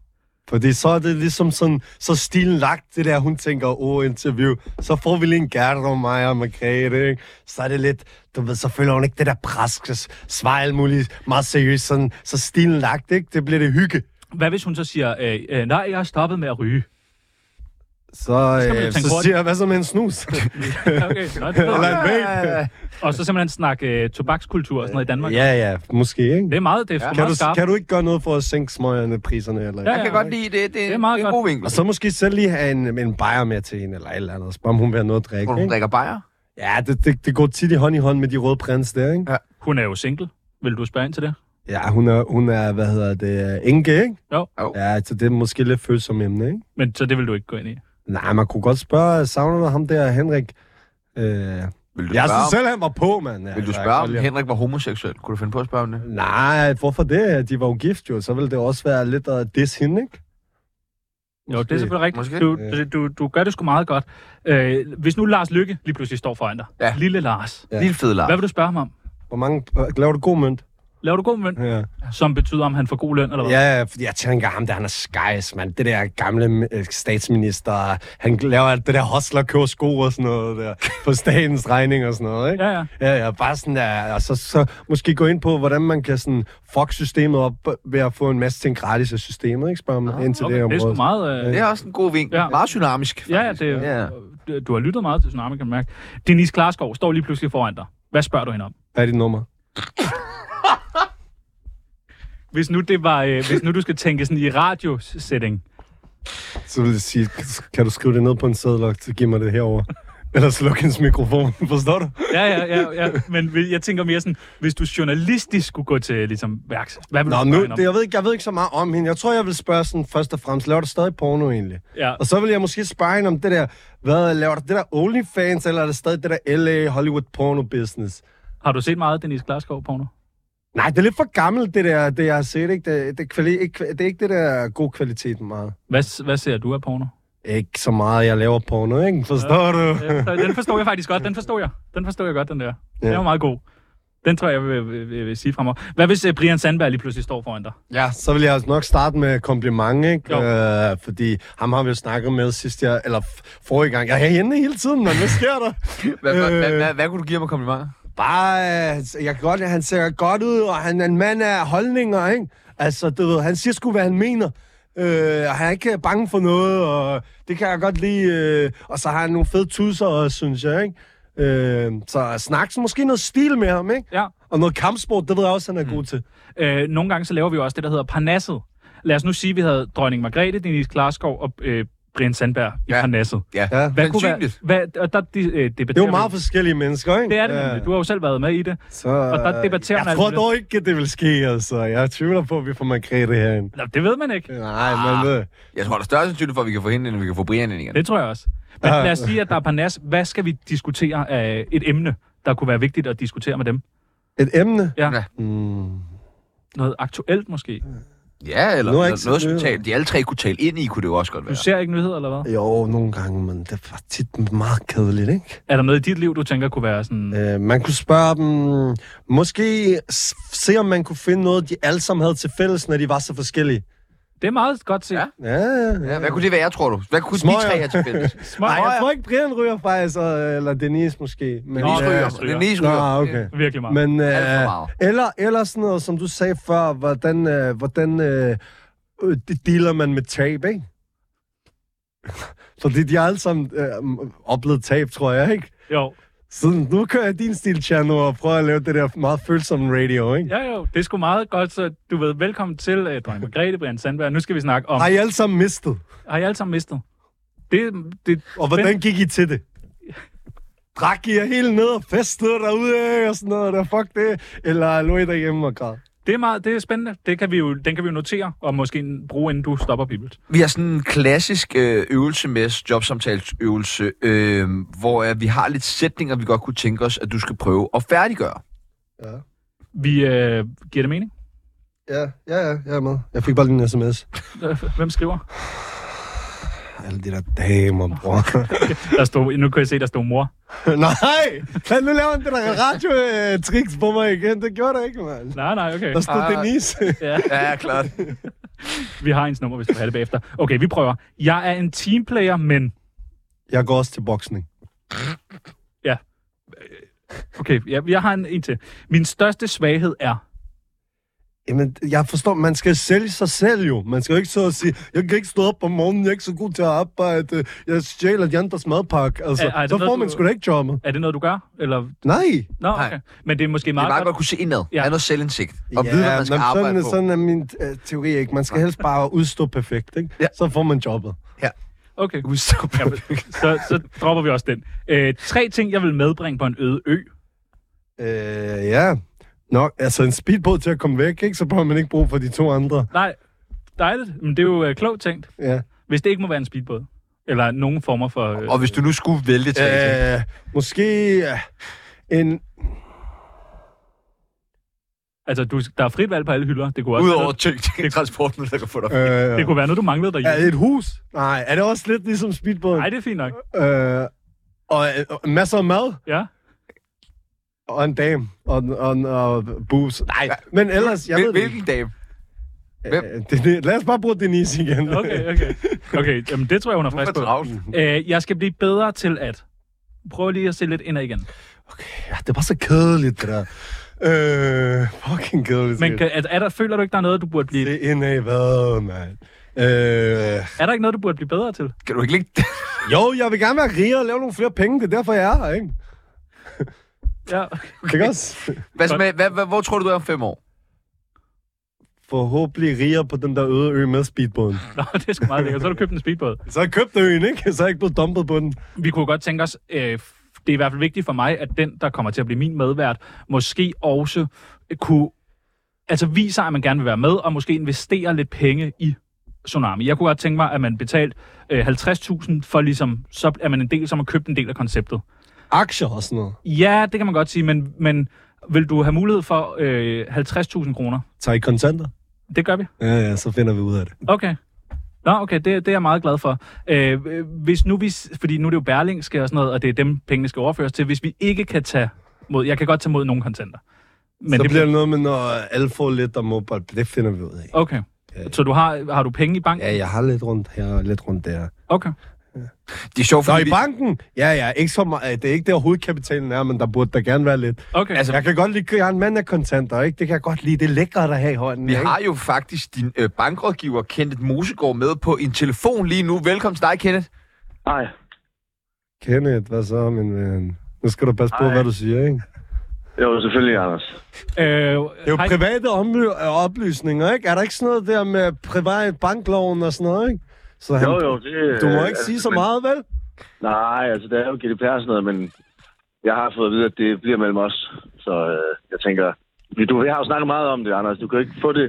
[SPEAKER 2] Fordi så er det ligesom sådan, så stilen lagt, det der, hun tænker, åh, oh, interview. Så får vi lige en gært om mig og Margrethe, ikke? Så er det lidt, du ved, så føler hun ikke det der pres, så svarer alt muligt meget seriøst, sådan, så stilen lagt, ikke? Det bliver det hygge.
[SPEAKER 1] Hvad hvis hun så siger, øh, øh, nej, jeg har stoppet med at ryge?
[SPEAKER 2] Så,
[SPEAKER 1] man jo
[SPEAKER 2] øh,
[SPEAKER 1] tænke
[SPEAKER 2] så
[SPEAKER 1] hurtigt.
[SPEAKER 2] siger jeg, hvad så med en snus?
[SPEAKER 1] Okay, nå, det er
[SPEAKER 2] Eller en
[SPEAKER 1] godt.
[SPEAKER 2] vape?
[SPEAKER 1] og så simpelthen snakke øh, tobakskultur og sådan noget i Danmark.
[SPEAKER 2] Ja, ja, måske,
[SPEAKER 1] Det
[SPEAKER 2] ikke?
[SPEAKER 1] er meget, det er
[SPEAKER 2] Kan
[SPEAKER 1] meget
[SPEAKER 2] du,
[SPEAKER 1] skarpt.
[SPEAKER 2] kan du ikke gøre noget for at sænke smøgerne priserne? Eller?
[SPEAKER 1] Ja,
[SPEAKER 3] Jeg kan godt lide det. Det,
[SPEAKER 1] Det er meget
[SPEAKER 3] det er en god vinkel.
[SPEAKER 2] Og så måske selv lige have en, en bajer med til hende, eller et eller andet. Spørg om hun vil have noget at drikke,
[SPEAKER 3] Hvor du
[SPEAKER 2] ikke?
[SPEAKER 3] drikker bajer.
[SPEAKER 2] Ja, det, det, det går tit i hånd i hånd med de røde prins der, ikke?
[SPEAKER 1] Hun er jo single. Vil du spørge ind til det?
[SPEAKER 2] Ja, hun er, hun er hvad hedder det, enke, ikke?
[SPEAKER 1] Jo.
[SPEAKER 3] Jo.
[SPEAKER 2] Ja, så det er måske lidt følsomt emne, ikke?
[SPEAKER 1] Men så det vil du ikke gå ind i.
[SPEAKER 2] Nej, man kunne godt spørge, savner du ham der, Henrik? Øh,
[SPEAKER 3] Vil du
[SPEAKER 2] jeg
[SPEAKER 3] spørge,
[SPEAKER 2] synes
[SPEAKER 3] om,
[SPEAKER 2] selv, han var på, mand. Ja,
[SPEAKER 3] vil du
[SPEAKER 2] altså,
[SPEAKER 3] spørge
[SPEAKER 2] jeg
[SPEAKER 3] om
[SPEAKER 2] kan godt lide
[SPEAKER 3] Henrik var homoseksuel? Kunne du finde på at spørge om det?
[SPEAKER 2] ham. Nej, hvorfor det? De var jo gift, jo. Så ville det også være lidt at diss hende, ikke?
[SPEAKER 1] Jo, det er selvfølgelig rigtigt.
[SPEAKER 3] Måske.
[SPEAKER 1] Du, du, du gør det sgu meget godt. Øh, hvis nu Lars Lykke lige pludselig står foran dig.
[SPEAKER 3] Ja.
[SPEAKER 1] Lille Lars.
[SPEAKER 2] Ja.
[SPEAKER 3] Lille fed larm.
[SPEAKER 1] Hvad vil du spørge ham om?
[SPEAKER 2] Hvor mange... øh, Laver du god mønt?
[SPEAKER 1] Laver du god mønt,
[SPEAKER 2] Ja.
[SPEAKER 1] som betyder, om han får god løn, eller hvad?
[SPEAKER 2] Ja, fordi jeg tænker ham, der han er skejs, mand. Det der gamle øh, statsminister, han laver alt det der hostler, køber sko og sådan noget der, på statens regning og sådan noget, ikke?
[SPEAKER 1] Ja, ja.
[SPEAKER 2] Ja, ja, bare sådan der, og så, så måske gå ind på, hvordan man kan sådan fuck systemet op ved at få en masse ting gratis af systemet, ikke? Spørg mig ah, ind til
[SPEAKER 1] Okay,
[SPEAKER 2] det
[SPEAKER 1] det er
[SPEAKER 2] område.
[SPEAKER 1] sgu meget... Øh,
[SPEAKER 3] Det er også en god vink.
[SPEAKER 1] Ja.
[SPEAKER 3] Ja. Meget dynamisk,
[SPEAKER 1] ja, ja,
[SPEAKER 3] faktisk.
[SPEAKER 1] det,
[SPEAKER 3] ja.
[SPEAKER 1] ja. Du har lyttet meget til Tsunami, kan man mærke. Denise Klarskov står lige pludselig foran dig. Hvad spørger du hende om?
[SPEAKER 2] Hvad er dit nummer?
[SPEAKER 1] Hvis nu, det var, øh, hvis nu du skal tænke sådan i radiosætning.
[SPEAKER 2] Så vil jeg sige, kan du skrive det ned på en seddel og så giv mig det herover. Eller sluk hendes mikrofon, forstår du?
[SPEAKER 1] Ja, ja, ja, ja. Men vi- jeg tænker mere sådan, hvis du journalistisk skulle gå til ligesom, værks. Hvad vil
[SPEAKER 2] Nå,
[SPEAKER 1] du
[SPEAKER 2] nu,
[SPEAKER 1] spørge hende om?
[SPEAKER 2] det, jeg, ved ikke, jeg ved ikke så meget om hende. Jeg tror, jeg vil spørge sådan først og fremmest, laver du stadig porno egentlig?
[SPEAKER 1] Ja.
[SPEAKER 2] Og så vil jeg måske spørge hende om det der, hvad laver du det der OnlyFans, eller er det stadig det der LA Hollywood porno business?
[SPEAKER 1] Har du set meget Denise Klarskov porno?
[SPEAKER 2] Nej, det er lidt for gammelt, det der, det jeg har set, ikke? Det, det, kvali- ikke, kva- det er ikke det der god kvalitet meget.
[SPEAKER 1] Hvad, hvad ser du af porno?
[SPEAKER 2] Ikke så meget, jeg laver porno, ikke? Forstår du?
[SPEAKER 1] Ja, Øh, den forstod jeg faktisk godt. Den forstod jeg. Den forstod jeg godt, den der. Ja. Den
[SPEAKER 2] Ja.
[SPEAKER 1] var meget god. Den tror jeg, jeg vil, vil, vil, vil sige fremover. Hvad hvis uh, Brian Sandberg lige pludselig står foran dig?
[SPEAKER 2] Ja, så vil jeg altså nok starte med kompliment, ikke?
[SPEAKER 1] Jo.
[SPEAKER 2] Øh, fordi ham har vi jo snakket med sidst, jeg, eller f- forrige gang. Jeg er henne hele tiden, men hvad sker der?
[SPEAKER 3] Hvad, hvad,
[SPEAKER 2] Øh.
[SPEAKER 3] hvad, hvad, hvad kunne du give mig komplimenter?
[SPEAKER 2] Bare, øh, jeg kan godt, han ser godt ud, og han er en mand af holdninger, ikke? Altså, du ved, han siger sgu, hvad han mener. Øh, og han er ikke bange for noget, og det kan jeg godt lide. Øh, og så har han nogle fede tusser også, synes jeg, ikke? Øh, så snak så måske noget stil med ham, ikke?
[SPEAKER 1] Ja.
[SPEAKER 2] Og noget kampsport, det ved jeg også, han er god til.
[SPEAKER 1] Øh, nogle gange så laver vi jo også det, der hedder parnasset. Lad os nu sige, at vi havde dronning Margrethe, Denise Klarskov og øh, Brian Sandberg i
[SPEAKER 3] Ja.
[SPEAKER 1] parnasset.
[SPEAKER 3] Ja,
[SPEAKER 2] Ja.
[SPEAKER 1] Hvad kunne være,
[SPEAKER 3] sandsynligt.
[SPEAKER 1] hvad, og der de, øh,
[SPEAKER 2] Det er
[SPEAKER 1] debatterer
[SPEAKER 2] jo meget
[SPEAKER 1] vi-
[SPEAKER 2] forskellige mennesker, ikke?
[SPEAKER 1] det er det
[SPEAKER 2] Ja.
[SPEAKER 1] nemlig. Du har jo selv været med i det.
[SPEAKER 2] Så,
[SPEAKER 1] Og der debatterer man
[SPEAKER 2] jeg
[SPEAKER 1] alt
[SPEAKER 2] tror
[SPEAKER 1] muligt.
[SPEAKER 2] dog ikke, at det vil ske, altså. Jeg tvivler på, at vi får Margrethe herinde.
[SPEAKER 1] Nå, det ved man ikke.
[SPEAKER 2] Nej,
[SPEAKER 1] Ah.
[SPEAKER 2] men øh,
[SPEAKER 3] Jeg tror, der er større sandsynlighed for, at vi kan få hende, end vi kan få Brian ind igen.
[SPEAKER 1] Det tror jeg også. Men
[SPEAKER 2] Ja.
[SPEAKER 1] lad os sige, at der er parnas. Hvad skal vi diskutere af et emne, der kunne være vigtigt at diskutere med dem?
[SPEAKER 2] et emne.
[SPEAKER 1] Ja.
[SPEAKER 3] Ja.
[SPEAKER 2] Mm.
[SPEAKER 1] Noget aktuelt måske.
[SPEAKER 3] Ja,
[SPEAKER 2] Nu er
[SPEAKER 3] eller
[SPEAKER 2] jeg
[SPEAKER 3] noget,
[SPEAKER 2] ikke så
[SPEAKER 3] noget som
[SPEAKER 2] nødt.
[SPEAKER 3] tale, de alle tre kunne tale ind i, kunne det jo også godt
[SPEAKER 1] Du
[SPEAKER 3] være.
[SPEAKER 1] ser ikke nyheder, eller hvad?
[SPEAKER 2] Jo, nogle gange, men det var tit meget kedeligt, ikke?
[SPEAKER 1] Er der noget i dit liv, du tænker kunne være sådan...
[SPEAKER 2] Øh, man kunne spørge dem, måske s- se, om man kunne finde noget, de alle sammen havde til fælles, når de var så forskellige.
[SPEAKER 1] Det er meget godt set.
[SPEAKER 3] Ja.
[SPEAKER 2] Ja, ja.
[SPEAKER 3] Ja, hvad kunne det være, tror du? Hvad kunne
[SPEAKER 2] Smøger.
[SPEAKER 3] de tre have til fælles?
[SPEAKER 1] Små,
[SPEAKER 2] Nej, jeg
[SPEAKER 1] jeg
[SPEAKER 2] tror ikke, Brian ryger faktisk, og- eller Denise måske. Men,
[SPEAKER 1] Denise
[SPEAKER 2] øh,
[SPEAKER 1] ryger.
[SPEAKER 3] Den ene
[SPEAKER 2] Nå,
[SPEAKER 3] ryger.
[SPEAKER 2] okay.
[SPEAKER 1] Virkelig meget.
[SPEAKER 2] Men,
[SPEAKER 3] Alt for
[SPEAKER 2] øh,
[SPEAKER 3] meget.
[SPEAKER 2] eller, eller sådan noget, som du sagde før, hvordan, øh, hvordan øh, øh, det dealer man med tab, ikke? Fordi de har alle sammen øh, oplevet tab, tror jeg, ikke?
[SPEAKER 1] Jo,
[SPEAKER 2] Så nu kører jeg din stil, Chano, og prøver at lave det der meget følsomme radio, ikke?
[SPEAKER 1] ja, jo. Det er sgu meget godt, så du ved, velkommen til, uh, Dronning Margrethe, Brian Sandberg. Nu skal vi snakke om,
[SPEAKER 2] Har I alle sammen mistet?
[SPEAKER 1] har I alle sammen mistet? Det, det,
[SPEAKER 2] Og hvordan gik I til det? Drak I jer helt ned og festede derude ikke? og sådan noget der? Fuck det. Eller lå I derhjemme og græd?
[SPEAKER 1] det er meget det er spændende. Det kan vi jo, den kan vi jo notere, og måske bruge, inden du stopper bibelt.
[SPEAKER 3] Vi har sådan en klassisk øh, øvelse med os, jobsamtalsøvelse, øh, hvor øh, vi har lidt sætninger, vi godt kunne tænke os, at du skal prøve at færdiggøre.
[SPEAKER 1] Vi øh, giver det mening.
[SPEAKER 2] Ja, ja, ja, jeg er med. Jeg fik bare lige en sms.
[SPEAKER 1] Øh, Hvem skriver?
[SPEAKER 2] Alle de der damer, bror.
[SPEAKER 1] Der stod, nu kan jeg se, der stod mor.
[SPEAKER 2] Nej! Lad nu laver han det der radio-tricks på mig igen. Det gjorde der ikke, mand.
[SPEAKER 1] Nej, nej, okay.
[SPEAKER 2] Der stod
[SPEAKER 3] Ah.
[SPEAKER 2] Denise.
[SPEAKER 1] Ja,
[SPEAKER 3] Ja, klart.
[SPEAKER 1] vi har ens nummer, hvis du vil have det bagefter. Okay, vi prøver. Jeg er en teamplayer, men...
[SPEAKER 2] Jeg går også til boksning.
[SPEAKER 1] Okay, jeg, jeg har en, en til. Min største svaghed er...
[SPEAKER 2] Jamen, jeg forstår, man skal sælge sig selv jo. Man skal jo ikke så at sige, jeg kan ikke stå op om morgenen, jeg er ikke så god til at arbejde, jeg stjæler de andres madpakke. Altså,
[SPEAKER 1] Ja, ej, det
[SPEAKER 2] så
[SPEAKER 1] ved
[SPEAKER 2] får
[SPEAKER 1] du-
[SPEAKER 2] man sgu da ikke jobbet.
[SPEAKER 1] Er det noget, du gør? Eller...
[SPEAKER 2] Nej.
[SPEAKER 1] Nå,
[SPEAKER 3] Nej.
[SPEAKER 1] okay. Men det er måske
[SPEAKER 3] Det er
[SPEAKER 1] meget,
[SPEAKER 3] meget godt
[SPEAKER 1] godt.
[SPEAKER 3] at kunne se indad.
[SPEAKER 1] Ja.
[SPEAKER 3] Ja. Have noget selvindsigt. Og vide, hvad man skal
[SPEAKER 2] men
[SPEAKER 3] arbejde
[SPEAKER 2] sådan,
[SPEAKER 3] på.
[SPEAKER 2] sådan er min øh, teori ikke. Man skal helst bare udstå perfekt, ikke?
[SPEAKER 3] Ja.
[SPEAKER 2] Så får man jobbet.
[SPEAKER 1] Okay.
[SPEAKER 3] Udstå
[SPEAKER 1] Ja, men- så, så dropper vi også den. Øh, tre ting, jeg vil medbringe på en øde ø.
[SPEAKER 2] Øh, ja. Nok, altså en speedbåd til at komme væk, ikke? Så behøver man ikke brug for de to andre.
[SPEAKER 1] Nej, dejligt. Men det er jo øh, klogt tænkt.
[SPEAKER 2] Ja.
[SPEAKER 1] Hvis det ikke må være en speedbåd. Eller nogen former for... Øh,
[SPEAKER 3] Og hvis du nu skulle vælge til øh,
[SPEAKER 2] Øh, måske øh, en...
[SPEAKER 1] altså, du, der er frit valg på alle hylder. Det kunne også
[SPEAKER 3] udover tyngd transporten, der kan få dig.
[SPEAKER 2] Øh,
[SPEAKER 1] det kunne være noget, du manglede
[SPEAKER 2] er
[SPEAKER 1] derhjemme.
[SPEAKER 2] det et hus? Nej, er det også lidt ligesom speedbåden?
[SPEAKER 1] Nej, det er fint nok.
[SPEAKER 2] Øh, og øh, masser af mad,
[SPEAKER 1] Ja.
[SPEAKER 2] og en dame, og, og, og booze. Nej, men ellers, jeg ved det ikke.
[SPEAKER 3] Hvilken dame? hvem?
[SPEAKER 2] Øh, det- det- Lad os bare bruge Denise igen.
[SPEAKER 1] Okay, okay. Okay, jamen, det tror jeg, hun er
[SPEAKER 3] Hvorfor
[SPEAKER 1] frisk på.
[SPEAKER 3] travlt?
[SPEAKER 1] Øh, jeg skal blive bedre til at... Prøv lige at se lidt ind igen.
[SPEAKER 2] Ja, det var så kedeligt, det der. Øh, fucking kedeligt.
[SPEAKER 1] Men kan, er, er der, føler du ikke, der er noget, du burde blive...
[SPEAKER 2] Det er ind af hvad, mand? Øh,
[SPEAKER 1] Er der ikke noget, du burde blive bedre til?
[SPEAKER 3] Kan du ikke ligge
[SPEAKER 2] jo, jeg vil gerne være rigere og lave nogle flere penge. Det er derfor, jeg er her, ikke?
[SPEAKER 1] Ja, okay.
[SPEAKER 2] Okay. Ikke også?
[SPEAKER 3] hvad, med, hvad, hvad, hvor tror du, du er om fem år?
[SPEAKER 2] Forhåbentlig rigere på den der øde ø med speedbåden.
[SPEAKER 1] Nå, det er sgu meget lækkert. Så har du købt en speedbåd.
[SPEAKER 2] Så har jeg købt øen, ikke? Så er jeg ikke blevet dumpet på den.
[SPEAKER 1] Vi kunne godt tænke os, øh, det er i hvert fald vigtigt for mig, at den, der kommer til at blive min medvært, måske også kunne altså viser, at man gerne vil være med, og måske investere lidt penge i Tsunami. Jeg kunne godt tænke mig, at man betalte øh, 50.000 for ligesom, så er man en del, som har købt en del af konceptet.
[SPEAKER 2] Aktier og sådan noget.
[SPEAKER 1] Ja, det kan man godt sige, men, men vil du have mulighed for øh, 50.000 kroner?
[SPEAKER 2] Tag i kontanter.
[SPEAKER 1] Det gør vi.
[SPEAKER 2] Ja, ja, så finder vi ud af det.
[SPEAKER 1] Okay. Nå, okay, det, det er jeg meget glad for. Øh, øh, hvis nu vi, s- fordi nu er det jo Berlingske og sådan noget, og det er dem, pengene skal overføres til. Hvis vi ikke kan tage mod, jeg kan godt tage mod nogle kontanter. Men
[SPEAKER 2] Men så det
[SPEAKER 1] det
[SPEAKER 2] bliver det noget med, når alle får lidt og mobile. Det finder vi ud af.
[SPEAKER 1] Okay. Så du har, har du penge i banken?
[SPEAKER 2] Ja, jeg har lidt rundt her og lidt rundt der.
[SPEAKER 1] Okay.
[SPEAKER 3] Det er sjovt,
[SPEAKER 2] Nå,
[SPEAKER 3] fordi...
[SPEAKER 2] i banken? Ja, ja, ikke så meget. Det er ikke der hovedkapitalen er, men der burde der gerne være lidt.
[SPEAKER 1] Okay.
[SPEAKER 2] Altså, jeg kan godt lide, jeg er en mand af kontanter, ikke? Det kan jeg godt lide. Det er lækkert at have i hånden,
[SPEAKER 3] Vi
[SPEAKER 2] ikke?
[SPEAKER 3] har jo faktisk din øh, bankrådgiver, Kenneth Mosegård, med på en telefon lige nu. Velkommen til dig, Kenneth.
[SPEAKER 6] Nej,
[SPEAKER 2] Kenneth, hvad så, min ven? Nu skal du passe på,
[SPEAKER 6] Ej.
[SPEAKER 2] hvad du siger, ikke?
[SPEAKER 6] jo selvfølgelig, Anders.
[SPEAKER 1] Øh,
[SPEAKER 2] Det er jo
[SPEAKER 1] hej.
[SPEAKER 2] private omly- øh, oplysninger, ikke? Er der ikke sådan noget der med privat bankloven og sådan noget, ikke? Så han,
[SPEAKER 6] Jo, jo, det...
[SPEAKER 2] Du må
[SPEAKER 6] øh,
[SPEAKER 2] ikke sige
[SPEAKER 6] altså,
[SPEAKER 2] så
[SPEAKER 6] men-
[SPEAKER 2] meget, vel?
[SPEAKER 6] Nej, altså, det er jo GDPR og sådan noget, men jeg har fået at vide, at det bliver mellem os. Så øh, jeg tænker... vi- Du, jeg har jo snakket meget om det, Anders. Du kan jo ikke få det,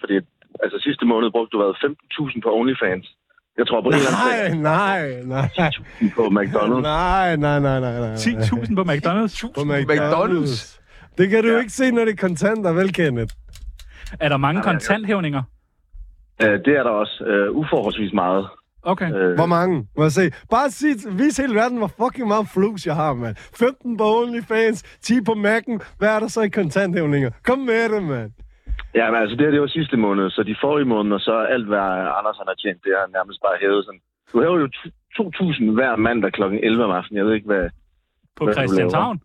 [SPEAKER 6] fordi altså, sidste måned brugte du været 15.000 på OnlyFans. Jeg tror på en eller
[SPEAKER 2] Nej,
[SPEAKER 6] anden
[SPEAKER 2] nej, nej.
[SPEAKER 6] dag, på McDonald's.
[SPEAKER 2] Nej, nej, nej, nej, nej.
[SPEAKER 1] 10.000 på McDonald's.
[SPEAKER 2] På
[SPEAKER 3] McDonald's.
[SPEAKER 2] Det kan du ja.
[SPEAKER 6] Ja.
[SPEAKER 2] ikke se, når det er kontanter, vel, Kenneth?
[SPEAKER 1] Er der mange
[SPEAKER 6] Nej, nej, jo.
[SPEAKER 1] kontanthævninger?
[SPEAKER 6] Øh, det er der også øh, uforholdsvis meget.
[SPEAKER 1] Okay.
[SPEAKER 6] Øh,
[SPEAKER 2] Hvor mange? Må jeg se? Bare sig, vis hele verden, hvor fucking meget flus jeg har, mand. 15 på OnlyFans, 10 på Mac'en. Hvad er der så i kontanthævninger? Kom med det, mand.
[SPEAKER 6] Ja, men altså, det her, det var sidste måned, så de forrige måneder, så er alt, hvad Anders han har tjent, det har han nærmest bare hævet sådan. Du hæver jo t- 2.000 hver mandag kl. 11 om aftenen. Jeg ved ikke, hvad...
[SPEAKER 1] På
[SPEAKER 6] hvad du
[SPEAKER 1] Christianshavn?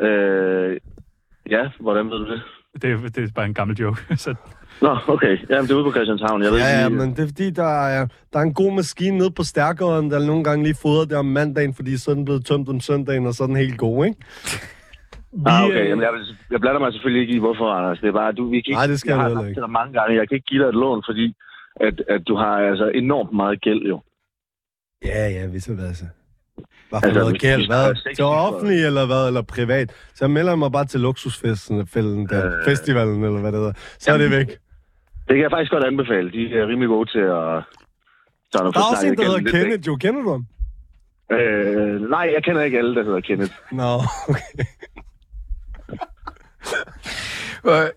[SPEAKER 6] Øh, ja, hvordan ved du det?
[SPEAKER 1] Det, det er bare en gammel joke. Så
[SPEAKER 6] Nå, okay. Jamen, det er ude på Christianshavn. Jeg ved
[SPEAKER 2] Ja,
[SPEAKER 6] ikke,
[SPEAKER 2] ja,
[SPEAKER 6] lige-
[SPEAKER 2] men det er fordi, der er, der er en god maskine nede på stærkeren, der nogle gange lige fodrer det om mandagen, fordi så er den blevet tømt om søndagen, og så er den helt god, ikke?
[SPEAKER 1] vi,
[SPEAKER 6] Ah, okay.
[SPEAKER 1] øh,
[SPEAKER 6] Jamen, jeg, vil- jeg blander mig selvfølgelig ikke i, hvorfor, Anders. Det er bare, du, vi kan ikke,
[SPEAKER 2] Nej, det skal jeg
[SPEAKER 6] jeg
[SPEAKER 2] heller
[SPEAKER 6] har
[SPEAKER 2] ikke.
[SPEAKER 6] sagt til dig mange gange. Jeg kan ikke give dig et lån, fordi at, at du har altså enormt meget gæld, jo.
[SPEAKER 2] Ja, ja, hvis jeg hvad så. Hvad for
[SPEAKER 6] Altså,
[SPEAKER 2] noget
[SPEAKER 6] hvis
[SPEAKER 2] gæld?
[SPEAKER 6] vi
[SPEAKER 2] Hvad?
[SPEAKER 6] skal have
[SPEAKER 2] Til
[SPEAKER 6] 6.000
[SPEAKER 2] offentlig eller hvad? Eller privat? Så melder jeg mig bare til luksusfesten, fælden der,
[SPEAKER 6] Øh.
[SPEAKER 2] festivalen eller hvad det hedder. Så er det væk.
[SPEAKER 6] Det kan jeg faktisk godt anbefale. De er rimelig gode til at... Sådan at
[SPEAKER 2] Der
[SPEAKER 6] få
[SPEAKER 2] er også
[SPEAKER 6] snakket
[SPEAKER 2] en, der
[SPEAKER 6] igennem
[SPEAKER 2] hedder
[SPEAKER 6] lidt,
[SPEAKER 2] Kenneth. Jo, kender du ham?
[SPEAKER 6] ikke? Øh, nej, jeg kender ikke alle, der hedder Kenneth.
[SPEAKER 2] Nå, okay.
[SPEAKER 3] Øh,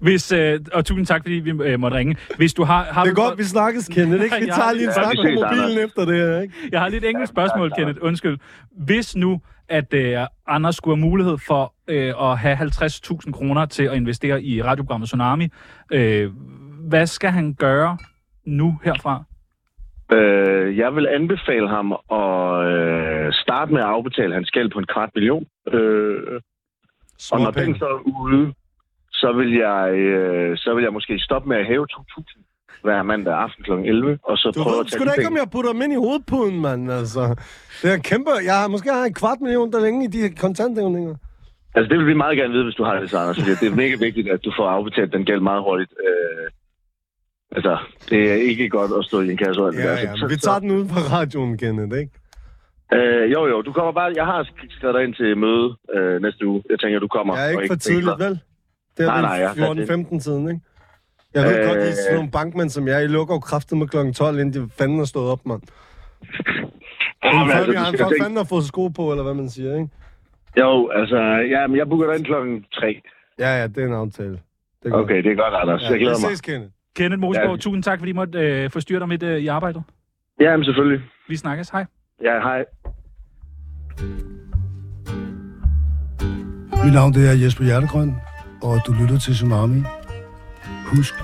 [SPEAKER 1] Hvis, øh, og tusind tak, fordi vi øh, måtte ringe. Hvis du har, har
[SPEAKER 2] Det er
[SPEAKER 1] du-
[SPEAKER 2] godt, vi snakkes, Kenneth, ikke? Vi
[SPEAKER 1] Ja,
[SPEAKER 2] tager lige en
[SPEAKER 1] ja,
[SPEAKER 2] snak
[SPEAKER 6] vi
[SPEAKER 2] på
[SPEAKER 6] ses,
[SPEAKER 2] mobilen efter det her, ikke?
[SPEAKER 1] Jeg har lidt engelsk spørgsmål, Kenneth. Undskyld. Hvis nu, at øh, Anders skulle have mulighed for øh, at have 50.000 kroner til at investere i radioprogrammet Tsunami, øh, hvad skal han gøre nu herfra?
[SPEAKER 6] Øh, jeg vil anbefale ham at øh, starte med at afbetale hans gæld på en kvart million. Øh, og når den
[SPEAKER 2] penge.
[SPEAKER 6] så er ude, så vil, jeg, øh, så vil jeg måske stoppe med at hæve 2.000 hver mandag aften kl. 11, og så
[SPEAKER 2] Du
[SPEAKER 6] prøve
[SPEAKER 2] ved
[SPEAKER 6] at tage
[SPEAKER 2] sgu da
[SPEAKER 6] de
[SPEAKER 2] ikke, om
[SPEAKER 6] penge.
[SPEAKER 2] jeg putter dem ind i hovedpuden, mand, altså. Det er kæmpe... Jeg har måske har en kvart million der længe i de her kontanthævninger.
[SPEAKER 6] Altså, det vil vi meget gerne vide, hvis du har det, så, Anders. Fordi det er mega vigtigt, at du får afbetalt den gæld meget hurtigt. Øh, altså, det er ikke godt at stå i en kasse og alt det
[SPEAKER 2] Ja,
[SPEAKER 6] der. Så-
[SPEAKER 2] ja,
[SPEAKER 6] så-
[SPEAKER 2] vi tager den ud fra radioen, Kenneth, ikke?
[SPEAKER 6] Øh, jo, jo, du kommer bare... Jeg har skrevet dig ind til møde øh, næste uge. Jeg tænker, du kommer.
[SPEAKER 2] Jeg er
[SPEAKER 6] og
[SPEAKER 2] ikke for tidligt, vel? Det
[SPEAKER 6] Nej, nej, jeg har sat det.
[SPEAKER 2] er 14-15 tiden, ikke? Jeg ved øh...
[SPEAKER 6] Øh.
[SPEAKER 2] godt, I er sådan nogle bankmænd som jeg. I lukker jo kraftet med kl. 12, inden de fanden er stået op, mand.
[SPEAKER 6] Ja,
[SPEAKER 2] Jamen,
[SPEAKER 6] men,
[SPEAKER 2] altså,
[SPEAKER 6] altså,
[SPEAKER 2] han for
[SPEAKER 6] du skal tænke,
[SPEAKER 2] fanden har fået sko på, eller hvad man siger, ikke?
[SPEAKER 6] jo, altså, ja, men jeg booker dig ind klokken 3.
[SPEAKER 2] Ja, ja, det er en aftale. Det er godt.
[SPEAKER 6] Okay, det er godt, Anders.
[SPEAKER 2] Ja,
[SPEAKER 6] Ja, jeg glæder
[SPEAKER 2] vi
[SPEAKER 6] mig.
[SPEAKER 2] ses, Kenneth.
[SPEAKER 1] Kenneth Mosgaard,
[SPEAKER 6] Ja.
[SPEAKER 1] tusind tak, fordi I måtte øh, forstyrre dig midt øh, i arbejdet.
[SPEAKER 6] Ja, men selvfølgelig.
[SPEAKER 1] Vi snakkes. Hej.
[SPEAKER 6] Ja, hej.
[SPEAKER 7] Mit navn det er Jesper Hjertegrøn, og du lytter til Tsunami. Husk.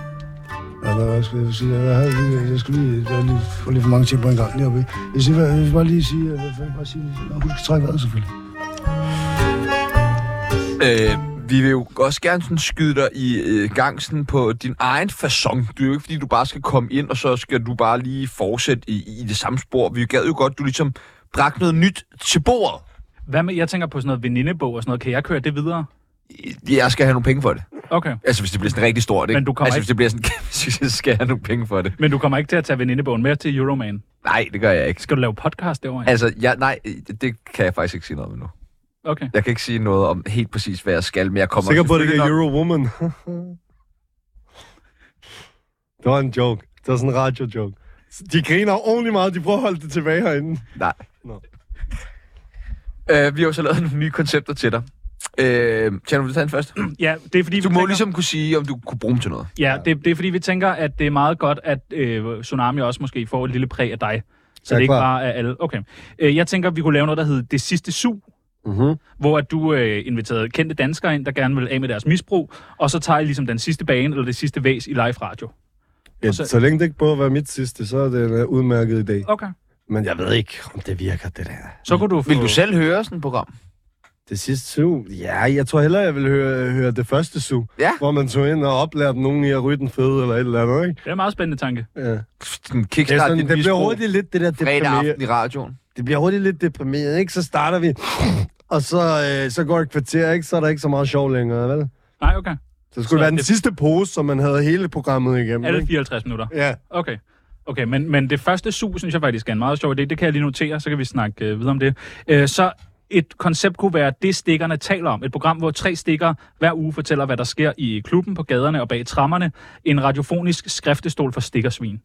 [SPEAKER 7] Ja, hvad, hvad skal jeg sige? Jeg, havde, lige- jeg skulle lige, jeg var lige, for lige for mange ting på en gang deroppe. Jeg, siger, hvad, jeg vil bare lige sige, hvad, hvad, bare sige Nå, husk at trække vejret selvfølgelig.
[SPEAKER 3] Øh, vi vil jo også gerne sådan skyde dig i øh, gang sådan på din egen façon. Det er jo ikke, fordi du bare skal komme ind, og så skal du bare lige fortsætte i, i det samme spor. Vi gad jo godt, at du ligesom bragte noget nyt til bordet.
[SPEAKER 1] Hvad med, jeg tænker på sådan noget venindebog og sådan noget. Kan jeg køre det videre?
[SPEAKER 3] Jeg skal have nogle penge for det.
[SPEAKER 1] Okay.
[SPEAKER 3] Altså, hvis det bliver sådan rigtig stort, ikke?
[SPEAKER 1] Men du kommer
[SPEAKER 3] altså,
[SPEAKER 1] ikke-
[SPEAKER 3] hvis det bliver sådan kæmpe, succes, så skal jeg have nogle penge for det.
[SPEAKER 1] Men du kommer ikke til at tage venindebogen med til Euroman.
[SPEAKER 3] Nej, det gør jeg ikke.
[SPEAKER 1] Skal du lave podcast derovre?
[SPEAKER 3] Altså, jeg, nej, det kan jeg faktisk ikke sige noget om nu.
[SPEAKER 1] Okay.
[SPEAKER 3] Jeg kan ikke sige noget om helt præcis, hvad jeg skal, men jeg kommer
[SPEAKER 2] Sikker på, at det ikke
[SPEAKER 3] selvfølgelig
[SPEAKER 2] er
[SPEAKER 3] nok-
[SPEAKER 2] Eurowoman. det var en joke. Det var sådan en radio-joke. De griner ordentligt meget. De prøver at holde det tilbage herinde.
[SPEAKER 3] Nej.
[SPEAKER 2] Nå.
[SPEAKER 3] Øh, vi har jo så lavet nogle nye koncepter til dig. Øh, Tjerno, vil du tage den først?
[SPEAKER 1] Ja, det er fordi, vi
[SPEAKER 3] Du må
[SPEAKER 1] tænker-
[SPEAKER 3] ligesom kunne sige, om du kunne bruge dem til noget.
[SPEAKER 1] Ja, det, det er fordi, vi tænker, at det er meget godt, at øh, Tsunami også måske får et lille præg af dig. Så
[SPEAKER 2] Ja,
[SPEAKER 1] det ikke
[SPEAKER 2] klar.
[SPEAKER 1] bare er alle. Okay. Øh, jeg tænker, at vi kunne lave noget, der hedder Det Sidste Sug.
[SPEAKER 2] Mhm.
[SPEAKER 6] Mm-hmm.
[SPEAKER 1] Hvor at du øh, inviterede kendte danskere ind, der gerne vil af med deres misbrug. Og så tager I ligesom den sidste bane, eller det sidste væs i live radio.
[SPEAKER 2] Ja,
[SPEAKER 1] Og så-
[SPEAKER 2] så... så længe det ikke både være mit sidste, så er det en øh, udmærket idé.
[SPEAKER 1] Okay.
[SPEAKER 2] Men jeg ved ikke, om det virker, det der.
[SPEAKER 1] Så kunne du få...
[SPEAKER 3] Vil du selv høre sådan et program?
[SPEAKER 2] Det sidste su? Ja, jeg tror hellere, jeg vil høre, høre det første su.
[SPEAKER 3] Ja.
[SPEAKER 2] Hvor man tog ind og oplærte nogen i at ryge den fede eller et eller andet, ikke?
[SPEAKER 1] Det er en meget spændende tanke.
[SPEAKER 2] Ja.
[SPEAKER 3] Den
[SPEAKER 2] Det, er
[SPEAKER 3] kickstart
[SPEAKER 2] sådan,
[SPEAKER 3] din
[SPEAKER 2] det bliver
[SPEAKER 3] misbrug
[SPEAKER 2] hurtigt lidt det der
[SPEAKER 3] fredag
[SPEAKER 2] deprimeret.
[SPEAKER 3] aften i radioen.
[SPEAKER 2] Det bliver hurtigt lidt deprimeret, ikke? Så starter vi, og så, øh, så går et kvarter, ikke? Så er der ikke så meget sjov længere, vel?
[SPEAKER 1] Nej, okay.
[SPEAKER 2] Så skulle så det være den
[SPEAKER 1] det-
[SPEAKER 2] sidste pose, som man havde hele programmet igennem,
[SPEAKER 1] Alle
[SPEAKER 2] ikke?
[SPEAKER 1] 54 minutter.
[SPEAKER 2] Ja.
[SPEAKER 1] Okay. Okay, men, men det første sug, synes jeg faktisk er en meget sjov idé. Det kan jeg lige notere, så kan vi snakke øh, videre om det. Øh, så et koncept kunne være det, stikkerne taler om. Et program, hvor tre stikker hver uge fortæller, hvad der sker i klubben, på gaderne og bag trammerne. En radiofonisk skriftestol for stikkersvin.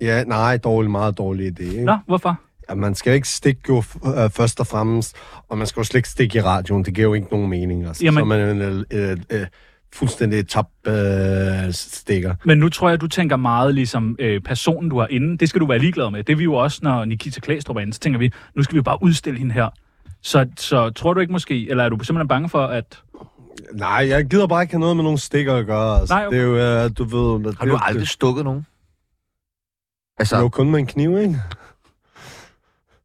[SPEAKER 2] Ja, nej, dårlig, meget dårlig idé, ikke?
[SPEAKER 1] Nå, hvorfor?
[SPEAKER 2] at man skal jo ikke stikke jo f- øh, først og fremmest, og man skal jo slet ikke stikke i radioen. Det giver jo ikke nogen mening. Altså.
[SPEAKER 1] Jamen-
[SPEAKER 2] Så er man er en øh, øh, øh, fuldstændig tab øh, stikker.
[SPEAKER 1] Men nu tror jeg, du tænker meget ligesom øh, personen, du har inde. Det skal du være ligeglad med. Det er vi jo også, når Nikita Klæstrup er inde. Så tænker vi, nu skal vi bare udstille hende her. Så, så tror du ikke måske, eller er du simpelthen bange for, at...
[SPEAKER 2] Nej, jeg gider bare ikke have noget med nogle stikker at gøre. Altså.
[SPEAKER 1] Nej, okay.
[SPEAKER 2] Det er jo, øh, du ved... det
[SPEAKER 3] Har
[SPEAKER 2] er
[SPEAKER 3] du
[SPEAKER 2] jo-
[SPEAKER 3] aldrig stukket nogen?
[SPEAKER 2] Det er jo
[SPEAKER 3] Altså,
[SPEAKER 2] kun med en kniv, ikke?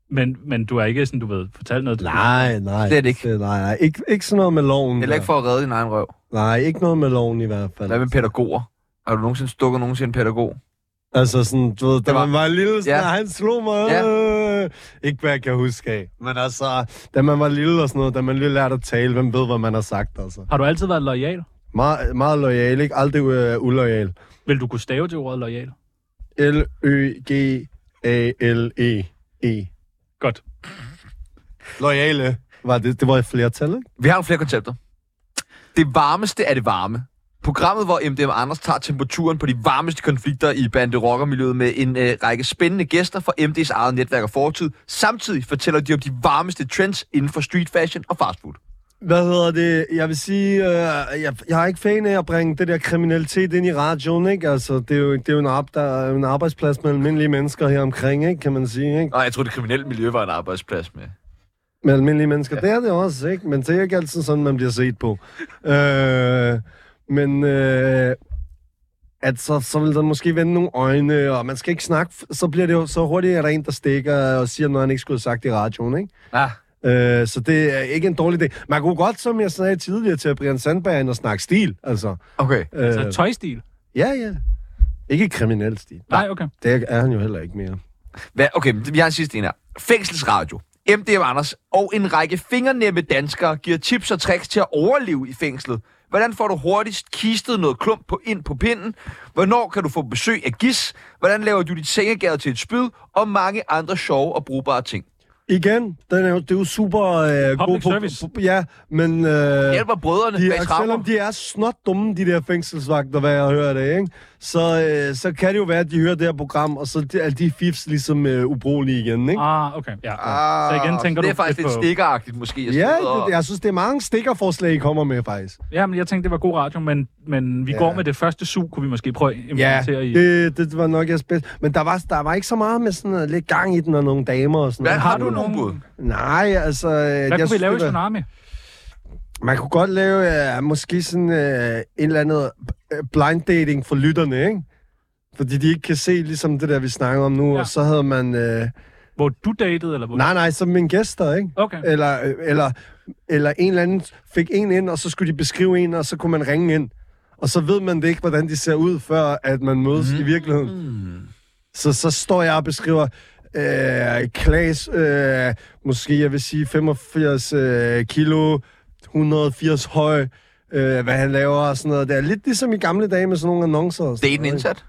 [SPEAKER 1] Men, men du er ikke sådan, du ved, fortalt noget.
[SPEAKER 2] Nej, nej.
[SPEAKER 3] Slet ikke.
[SPEAKER 2] Det- Nej, nej. Ik- ikke sådan noget med loven.
[SPEAKER 3] heller ikke
[SPEAKER 2] der.
[SPEAKER 3] for at redde din egen røv.
[SPEAKER 2] Nej, ikke noget med loven i hvert fald.
[SPEAKER 3] Hvad med pædagoger? Har du nogensinde stukket nogen til en pædagog?
[SPEAKER 2] Altså sådan, du ved, da
[SPEAKER 3] Det var-
[SPEAKER 2] man var lille, sådan,
[SPEAKER 3] Ja.
[SPEAKER 2] ja. han slog mig.
[SPEAKER 3] Ja.
[SPEAKER 2] Ja. Ikke hvad jeg kan huske af. Men altså, da man var lille og sådan noget, da man lige lærte at tale, hvem ved, hvad man har sagt, altså.
[SPEAKER 1] Har du altid været lojal?
[SPEAKER 2] Me- meget lojal, ikke? Aldrig øh, ulojal.
[SPEAKER 1] Vil du kunne stave til ordet lojal?
[SPEAKER 2] L-Ø-G-A-L-E-E.
[SPEAKER 1] Godt.
[SPEAKER 2] Lojale. Var det, det var et flertal, ikke?
[SPEAKER 3] Vi har jo flere koncepter. Det varmeste er det varme. Programmet, hvor MDM Anders tager temperaturen på de varmeste konflikter i bande rockermiljøet med en øh, række spændende gæster fra MD's eget netværk og fortid. Samtidig fortæller de om de varmeste trends inden for street fashion og fastfood.
[SPEAKER 2] Hvad hedder det? Jeg vil sige, øh, jeg, jeg er ikke fan af at bringe det der kriminalitet ind i radioen, ikke? Altså, det er jo, det er jo en, op, der er jo en arbejdsplads med almindelige mennesker her omkring, ikke? Kan man sige, ikke?
[SPEAKER 3] Nå, jeg tror det kriminelle miljø var en arbejdsplads med.
[SPEAKER 2] Med almindelige mennesker. Ja. Det er det også, ikke? Men det er ikke altid sådan, man bliver set på. øh, men øh, at så, så vil der måske vende nogle øjne, og man skal ikke snakke, f- så bliver det jo, så hurtigt er der en, der stikker og siger noget, han ikke skulle have sagt i radioen, ikke?
[SPEAKER 3] Ah,
[SPEAKER 2] Øh, så det er ikke en dårlig idé. Man kunne godt, som jeg sagde tidligere til Brian Sandberg, ind og snakke stil, altså.
[SPEAKER 3] okay.
[SPEAKER 2] Øh,
[SPEAKER 1] Så tøjstil?
[SPEAKER 2] ja, ja. Ikke kriminel stil.
[SPEAKER 1] Nej, okay.
[SPEAKER 2] Det er han jo heller ikke mere.
[SPEAKER 3] Hvad, okay, men vi har en sidste en her. Fængselsradio. MDM Anders og en række fingernemme danskere giver tips og tricks til at overleve i fængslet. Hvordan får du hurtigst kistet noget klump på ind på pinden? Hvornår kan du få besøg af gis? Hvordan laver du dit sengegade til et spyd? Og mange andre sjove og brugbare ting.
[SPEAKER 2] Igen, den er jo, det er jo super
[SPEAKER 1] Public
[SPEAKER 2] øh, god på,
[SPEAKER 1] service.
[SPEAKER 2] På, ja, men... Øh,
[SPEAKER 3] Hjælper brødrene
[SPEAKER 2] de,
[SPEAKER 3] bag
[SPEAKER 2] og
[SPEAKER 3] trapper.
[SPEAKER 2] selvom de er snot dumme, de der fængselsvagter, hvad jeg hører det, ikke? Så, øh, så kan det jo være, at de hører det her program, og så er de fifs ligesom øh, ubrugelige igen, ikke?
[SPEAKER 1] Ah, okay. Ja.
[SPEAKER 3] Ah,
[SPEAKER 1] så igen tænker
[SPEAKER 3] det er
[SPEAKER 1] du
[SPEAKER 3] faktisk
[SPEAKER 1] lidt
[SPEAKER 3] lidt
[SPEAKER 1] på-
[SPEAKER 3] stikkeragtigt, måske. at
[SPEAKER 2] Ja,
[SPEAKER 3] sidde og-
[SPEAKER 2] det, jeg synes, det er mange stikkerforslag, I kommer med, faktisk.
[SPEAKER 1] ja, men jeg tænkte, det var god radio, men, men vi
[SPEAKER 2] Ja.
[SPEAKER 1] går med det første sug, kunne vi måske prøve at implementere i.
[SPEAKER 2] Det, det var nok jeres bedste. Men der var, der var ikke så meget med sådan noget, lidt gang i den og nogle damer og sådan
[SPEAKER 3] Hvad,
[SPEAKER 2] noget.
[SPEAKER 3] har du nogen bud?
[SPEAKER 2] Nej, altså... Hvad
[SPEAKER 1] Hvad kunne vi lave i Tsunami?
[SPEAKER 2] Man kunne godt lave uh, måske sådan uh, en eller anden øh, blind dating for lytterne, ikke? Fordi de ikke kan se ligesom det der, vi snakker om nu.
[SPEAKER 1] Ja.
[SPEAKER 2] Ja. Og så havde man... Uh,
[SPEAKER 1] Hvor du datede, eller hvor?
[SPEAKER 2] nej, nej, så mine gæster, ikke?
[SPEAKER 1] Okay.
[SPEAKER 2] Eller, øh, eller, eller en eller anden fik en ind, og så skulle de beskrive en, og så kunne man ringe ind. Og så ved man det ikke, hvordan de ser ud, før at man mødes mm. i virkeligheden. Så, så står jeg og beskriver øh, Klaas, øh, måske jeg vil sige 85 øh, kilo, 180 høj, øh, hvad han laver og sådan noget. Det er lidt ligesom i gamle dage med sådan nogle annoncer. og
[SPEAKER 3] Det
[SPEAKER 2] sådan
[SPEAKER 3] er en
[SPEAKER 2] noget, ikke?
[SPEAKER 3] indsat.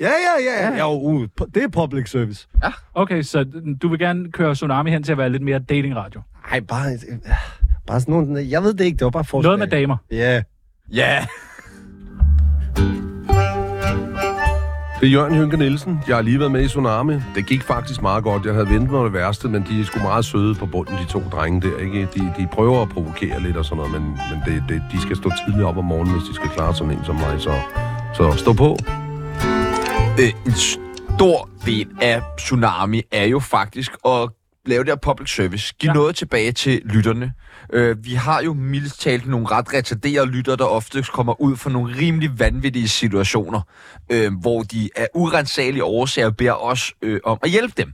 [SPEAKER 2] Ja, ja, ja. ja. Jo, uh, det er public service.
[SPEAKER 1] Okay, så du vil gerne køre Tsunami hen til at være lidt mere datingradio.
[SPEAKER 2] Ej, bare, øh, bare sådan nogle... Jeg ved det ikke, det var bare forslag.
[SPEAKER 1] Noget med damer.
[SPEAKER 2] Ja. Yeah.
[SPEAKER 3] Ja.
[SPEAKER 8] Det er Jørgen Hynke Nielsen. Jeg har lige været med i Tsunami. Det gik faktisk meget godt. Jeg havde ventet mig det værste, men de er sgu meget søde på bunden, de to drenge der. Ikke? De, de prøver at provokere lidt og sådan noget, men, men det, det, de skal stå tidligt op om morgenen, hvis de skal klare sådan en som mig. Så, så stå på.
[SPEAKER 3] Øh, en stor del af Tsunami er jo faktisk at lave det her public service. Giv
[SPEAKER 1] Ja.
[SPEAKER 3] ja. noget tilbage til lytterne. Øh, vi har jo mildest talt nogle ret retarderede lytter, der ofte kommer ud for nogle rimelig vanvittige situationer, øh, hvor de af urensagelige årsager beder os øh, om at hjælpe dem.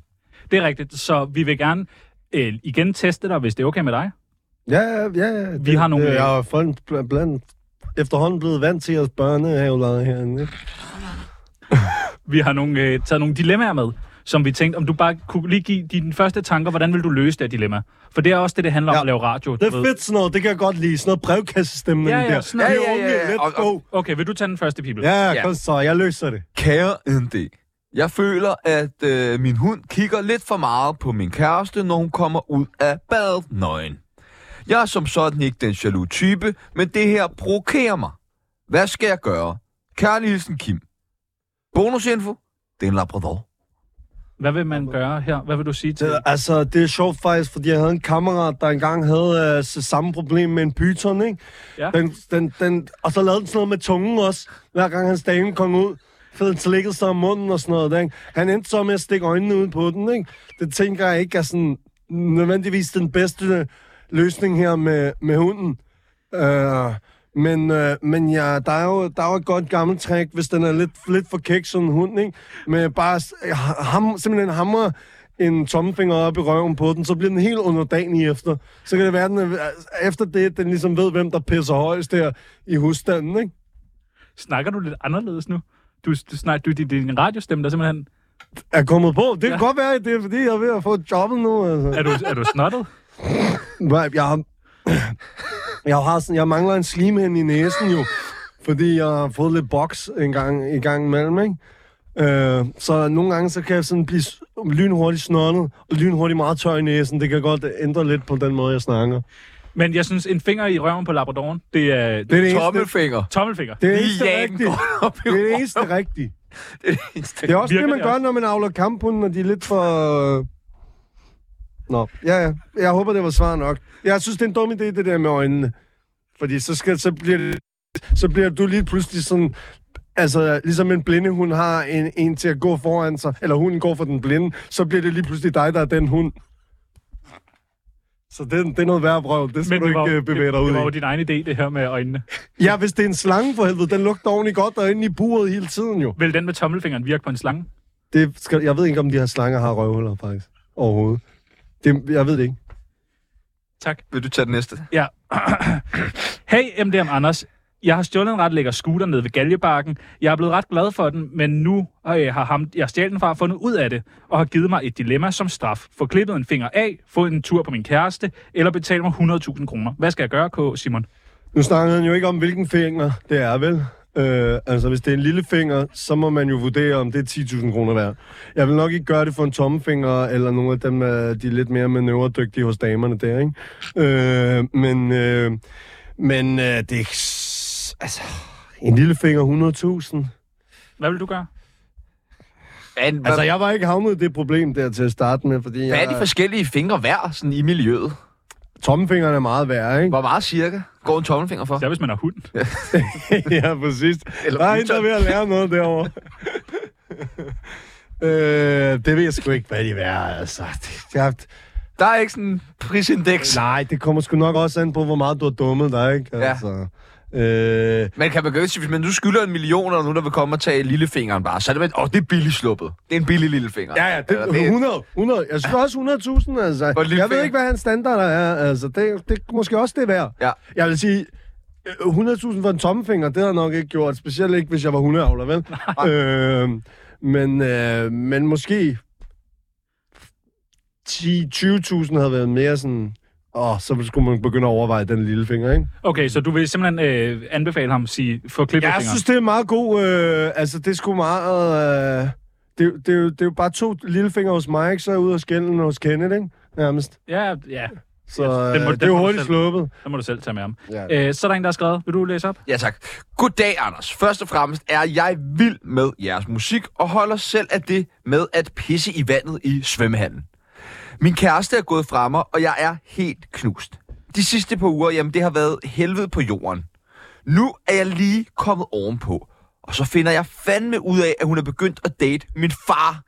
[SPEAKER 1] Det er rigtigt, så vi vil gerne øh, igen teste dig, hvis det er okay med dig.
[SPEAKER 2] Ja, ja, ja.
[SPEAKER 1] Vi har nogle-
[SPEAKER 2] Jeg har folk bl- blandt efterhånden blevet vant til at børnehavelade herinde. ikke?
[SPEAKER 1] Vi har nogle, øh, taget nogle dilemmaer med, som vi tænkte, om du bare kunne lige give dine første tanker, hvordan vil du løse det her dilemma? For det er også det, det handler om
[SPEAKER 2] Ja.
[SPEAKER 1] at lave radio. du
[SPEAKER 2] Det er
[SPEAKER 1] ved.
[SPEAKER 2] fedt sådan noget, det kan jeg godt lide. Sådan noget brevkassestemning
[SPEAKER 1] Ja, ja,
[SPEAKER 2] der.
[SPEAKER 1] sådan noget.
[SPEAKER 2] Det er
[SPEAKER 3] Ja, ja, ja,
[SPEAKER 2] unge,
[SPEAKER 3] ja.
[SPEAKER 2] let's
[SPEAKER 3] Og- og-
[SPEAKER 2] go.
[SPEAKER 1] Okay, vil du tage den første, Pibel?
[SPEAKER 2] Ja,
[SPEAKER 3] Ja.
[SPEAKER 2] ja, kom så, jeg løser det.
[SPEAKER 3] Kære ND, jeg føler, at øh, min hund kigger lidt for meget på min kæreste, når hun kommer ud af badet nøgen. Jeg er som sådan ikke den jaloux type, men det her provokerer mig. Hvad skal jeg gøre? Kærlig hilsen, Kim. Bonusinfo, det er en labrador.
[SPEAKER 1] Hvad vil man gøre her? Hvad vil du sige til
[SPEAKER 2] det. Altså, det er sjovt faktisk, fordi jeg havde en kammerat, der engang havde øh, så samme problem med en pyton, ikke?
[SPEAKER 1] Ja.
[SPEAKER 2] Den, den, den, og så lavede den sådan noget med tungen også, hver gang hans dame kom ud. Så den slikkede sig om munden og sådan noget. Ikke? Han endte så med at stikke øjnene ud på den, ikke? Det tænker jeg ikke er sådan nødvendigvis den bedste løsning her med, med hunden. Øh, men øh, men ja, der, er jo, der er jo et godt gammelt trick, hvis den er lidt, lidt for kæk, sådan en hund, ikke? Med bare s- ha- ham, simpelthen hamre en tommelfinger op i røven på den, så bliver den helt underdanig efter. Så kan det være, den er, efter det, den ligesom ved, hvem der pisser højst der i husstanden, ikke?
[SPEAKER 1] Snakker du lidt anderledes nu? Du, du snakker, du, din, din radiostemme, der simpelthen...
[SPEAKER 2] Er kommet på. Det kan
[SPEAKER 1] Ja.
[SPEAKER 2] ja. godt være, at det er, fordi jeg er ved at få jobbet nu, altså.
[SPEAKER 1] Er du, er du snottet?
[SPEAKER 2] Nej, jeg har... Jeg, har sådan, jeg mangler en slimhænd i næsen jo, fordi jeg har fået lidt boks en gang, i gang imellem, ikke? Øh, så nogle gange så kan jeg sådan blive s- lynhurtigt snottet, og lynhurtigt meget tør i næsen. Det kan godt ændre lidt på den måde, jeg snakker.
[SPEAKER 1] Men jeg synes, en finger i røven på labradoren, det er...
[SPEAKER 2] Det er det eneste,
[SPEAKER 3] Tommelfinger.
[SPEAKER 1] Tommelfinger.
[SPEAKER 2] det er det
[SPEAKER 3] Lige
[SPEAKER 2] eneste
[SPEAKER 3] jagen
[SPEAKER 2] rigtige.
[SPEAKER 3] godt op i
[SPEAKER 2] Det er det
[SPEAKER 3] røven.
[SPEAKER 2] eneste rigtige.
[SPEAKER 3] Det er det eneste.
[SPEAKER 2] Det er også
[SPEAKER 1] Virker
[SPEAKER 2] det, man
[SPEAKER 1] det
[SPEAKER 2] gør,
[SPEAKER 1] også?
[SPEAKER 2] når man avler kamphunden, når de er lidt for... øh, Nå, ja, ja. Jeg håber, det var svar nok. Jeg synes, det er en dum idé, det der med øjnene. Fordi så, skal, så, bliver, det, så bliver du lige pludselig sådan... Altså, ligesom en blinde hun har en, en til at gå foran sig, eller hunden går for den blinde, så bliver det lige pludselig dig, der er den hund. Så det, det er noget værre brøv. Det
[SPEAKER 1] Men
[SPEAKER 2] skal Men du
[SPEAKER 1] det
[SPEAKER 2] ikke
[SPEAKER 1] var,
[SPEAKER 2] øh,
[SPEAKER 1] det,
[SPEAKER 2] bevæge dig
[SPEAKER 1] det var jo
[SPEAKER 2] ud i.
[SPEAKER 1] din egen idé, det her med øjnene.
[SPEAKER 2] Ja, hvis det er en slange for helvede, den lugter ordentligt godt derinde i buret hele tiden jo.
[SPEAKER 1] Vil den med tommelfingeren virke på en slange?
[SPEAKER 2] Det skal, jeg ved ikke, om de her slanger har røvhuller, faktisk. Overhovedet. Det, jeg ved det ikke.
[SPEAKER 1] Tak.
[SPEAKER 3] Vil du tage den næste?
[SPEAKER 1] Ja. hey, MDM Anders. Jeg har stjålet en ret lækker scooter nede ved Galjebakken. Jeg er blevet ret glad for den, men nu øh, har ham, jeg stjal den fra fundet ud af det, og har givet mig et dilemma som straf. Få klippet en finger af, få en tur på min kæreste, eller betale mig 100.000 kroner. Hvad skal jeg gøre, K. Simon?
[SPEAKER 2] Nu snakkede han jo ikke om, hvilken finger det er, vel? Øh, altså, hvis det er en lille finger, så må man jo vurdere, om det er 10.000 kroner værd. Jeg vil nok ikke gøre det for en tommefinger, eller nogle af dem, øh, de er lidt mere manøvredygtige hos damerne der, ikke? Øh, men øh, men øh, det er... Altså, en lille finger 100.000.
[SPEAKER 1] Hvad vil du gøre?
[SPEAKER 3] Men,
[SPEAKER 2] Altså, jeg var ikke havnet i det problem der til at starte med, fordi
[SPEAKER 3] hvad er
[SPEAKER 2] jeg,
[SPEAKER 3] de forskellige fingre værd sådan i miljøet?
[SPEAKER 2] tommelfingeren er meget værre, ikke?
[SPEAKER 3] Hvor meget cirka går en tommelfinger for?
[SPEAKER 1] Især hvis man har hund.
[SPEAKER 2] ja, præcis.
[SPEAKER 3] Eller
[SPEAKER 2] Der er en, der er
[SPEAKER 3] Python.
[SPEAKER 2] ved at lære noget derovre. øh, det ved jeg sgu ikke, hvad de er værd, altså. Det, jeg,
[SPEAKER 3] Der er ikke sådan en prisindeks.
[SPEAKER 2] nej, det kommer sgu nok også an på, hvor meget du har dummet dig, ikke?
[SPEAKER 3] Ja.
[SPEAKER 2] Altså, øh,
[SPEAKER 3] Man kan begynde sige, hvis man nu skylder en million, og nu der vil komme og tage lillefingeren bare, så er det, med- åh, det er billigt sluppet. Det er en billig lillefinger.
[SPEAKER 2] ja, ja,
[SPEAKER 3] Eller
[SPEAKER 2] det, 100, 100. Jeg synes også 100.000, altså.
[SPEAKER 3] Hvor lille
[SPEAKER 2] Jeg ved
[SPEAKER 3] finger.
[SPEAKER 2] ikke, hvad hans standarder er, altså. Det, det er måske også det værd.
[SPEAKER 3] Ja.
[SPEAKER 2] Jeg vil sige, øh, 100.000 for en tommefinger, det havde jeg nok ikke gjort. Specielt ikke, hvis jeg var hundeavler, vel? Øh, men, øh, men måske 10-20.000 havde været mere sådan... Åh, så skulle man begynde at overveje den lille finger, ikke?
[SPEAKER 1] Okay, så du vil simpelthen øh, anbefale ham at sige, få klippet
[SPEAKER 2] Jeg synes, det er meget god... Øh, altså, det er sgu meget... Øh, det, det, det, er jo, det er jo bare to lillefinger hos mig, ikke? Så er jeg ude og skælde den hos Kenneth, ikke? Nærmest.
[SPEAKER 1] Ja, ja.
[SPEAKER 2] Så
[SPEAKER 1] Ja,
[SPEAKER 2] øh,
[SPEAKER 1] den må-
[SPEAKER 2] det er
[SPEAKER 1] den
[SPEAKER 2] jo
[SPEAKER 1] må du
[SPEAKER 2] hurtigt
[SPEAKER 1] selv-
[SPEAKER 2] sluppet.
[SPEAKER 1] Det må du selv tage med ham.
[SPEAKER 2] Ja.
[SPEAKER 1] Ja. Øh, så er der en, der har skrevet. Vil du læse op?
[SPEAKER 3] Ja tak. Goddag, Anders. Først og fremmest er jeg vild med jeres musik og holder selv af det med at pisse i vandet i svømmehallen. Min kæreste er gået fra mig, og jeg er helt knust. De sidste par uger, jamen det har været helvede på jorden. Nu er jeg lige kommet ovenpå, og så finder jeg fandme ud af, at hun er begyndt at date min far.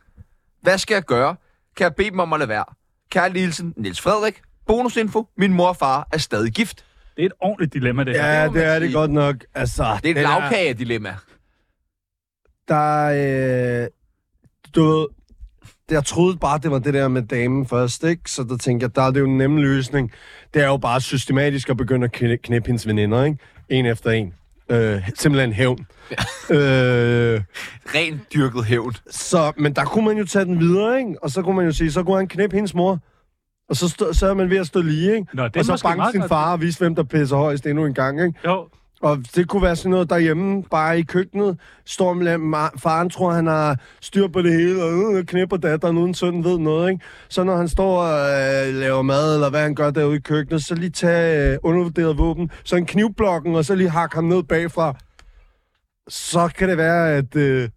[SPEAKER 3] Hvad skal jeg gøre? Kan jeg bede dem om at lade være? Kærlig hilsen, Niels Frederik. Bonusinfo, min mor og far er stadig gift.
[SPEAKER 1] Det er et ordentligt dilemma, det her.
[SPEAKER 2] Ja,
[SPEAKER 3] det må
[SPEAKER 2] det
[SPEAKER 3] man
[SPEAKER 2] er det
[SPEAKER 3] sige.
[SPEAKER 2] godt nok. Altså,
[SPEAKER 3] Det er et
[SPEAKER 2] den
[SPEAKER 3] lavkage-dilemma.
[SPEAKER 2] der... Øh, du ved, jeg troede bare, det var det der med damen først, ikke? Så der tænkte jeg, der er det jo en nem løsning. Det er jo bare systematisk at begynde at kne- knæppe hendes veninder, ikke? En efter en. Øh, simpelthen hævn. øh,
[SPEAKER 3] Rent dyrket hævn.
[SPEAKER 2] så, men der kunne man jo tage den videre, ikke? Og så kunne man jo sige, så kunne han knæppe hendes mor. Og så, stå, så er man ved at stå lige, ikke?
[SPEAKER 1] Nå, det er
[SPEAKER 2] og så
[SPEAKER 1] måske
[SPEAKER 2] banke
[SPEAKER 1] meget
[SPEAKER 2] sin
[SPEAKER 1] godt.
[SPEAKER 2] far og vise, hvem der pisser højst endnu en gang, ikke?
[SPEAKER 1] Jo,
[SPEAKER 2] Og det kunne være sådan noget derhjemme, bare i køkkenet. Står med ma- faren tror, han har styr på det hele, og øh, knipper datteren, uden sønnen ved noget, ikke? Så når han står og øh, laver mad, eller hvad han gør derude i køkkenet, så lige tage øh, undervurderet våben, så en knivblokken, og så lige hakke ham ned bagfra. Så kan det være, at, øh,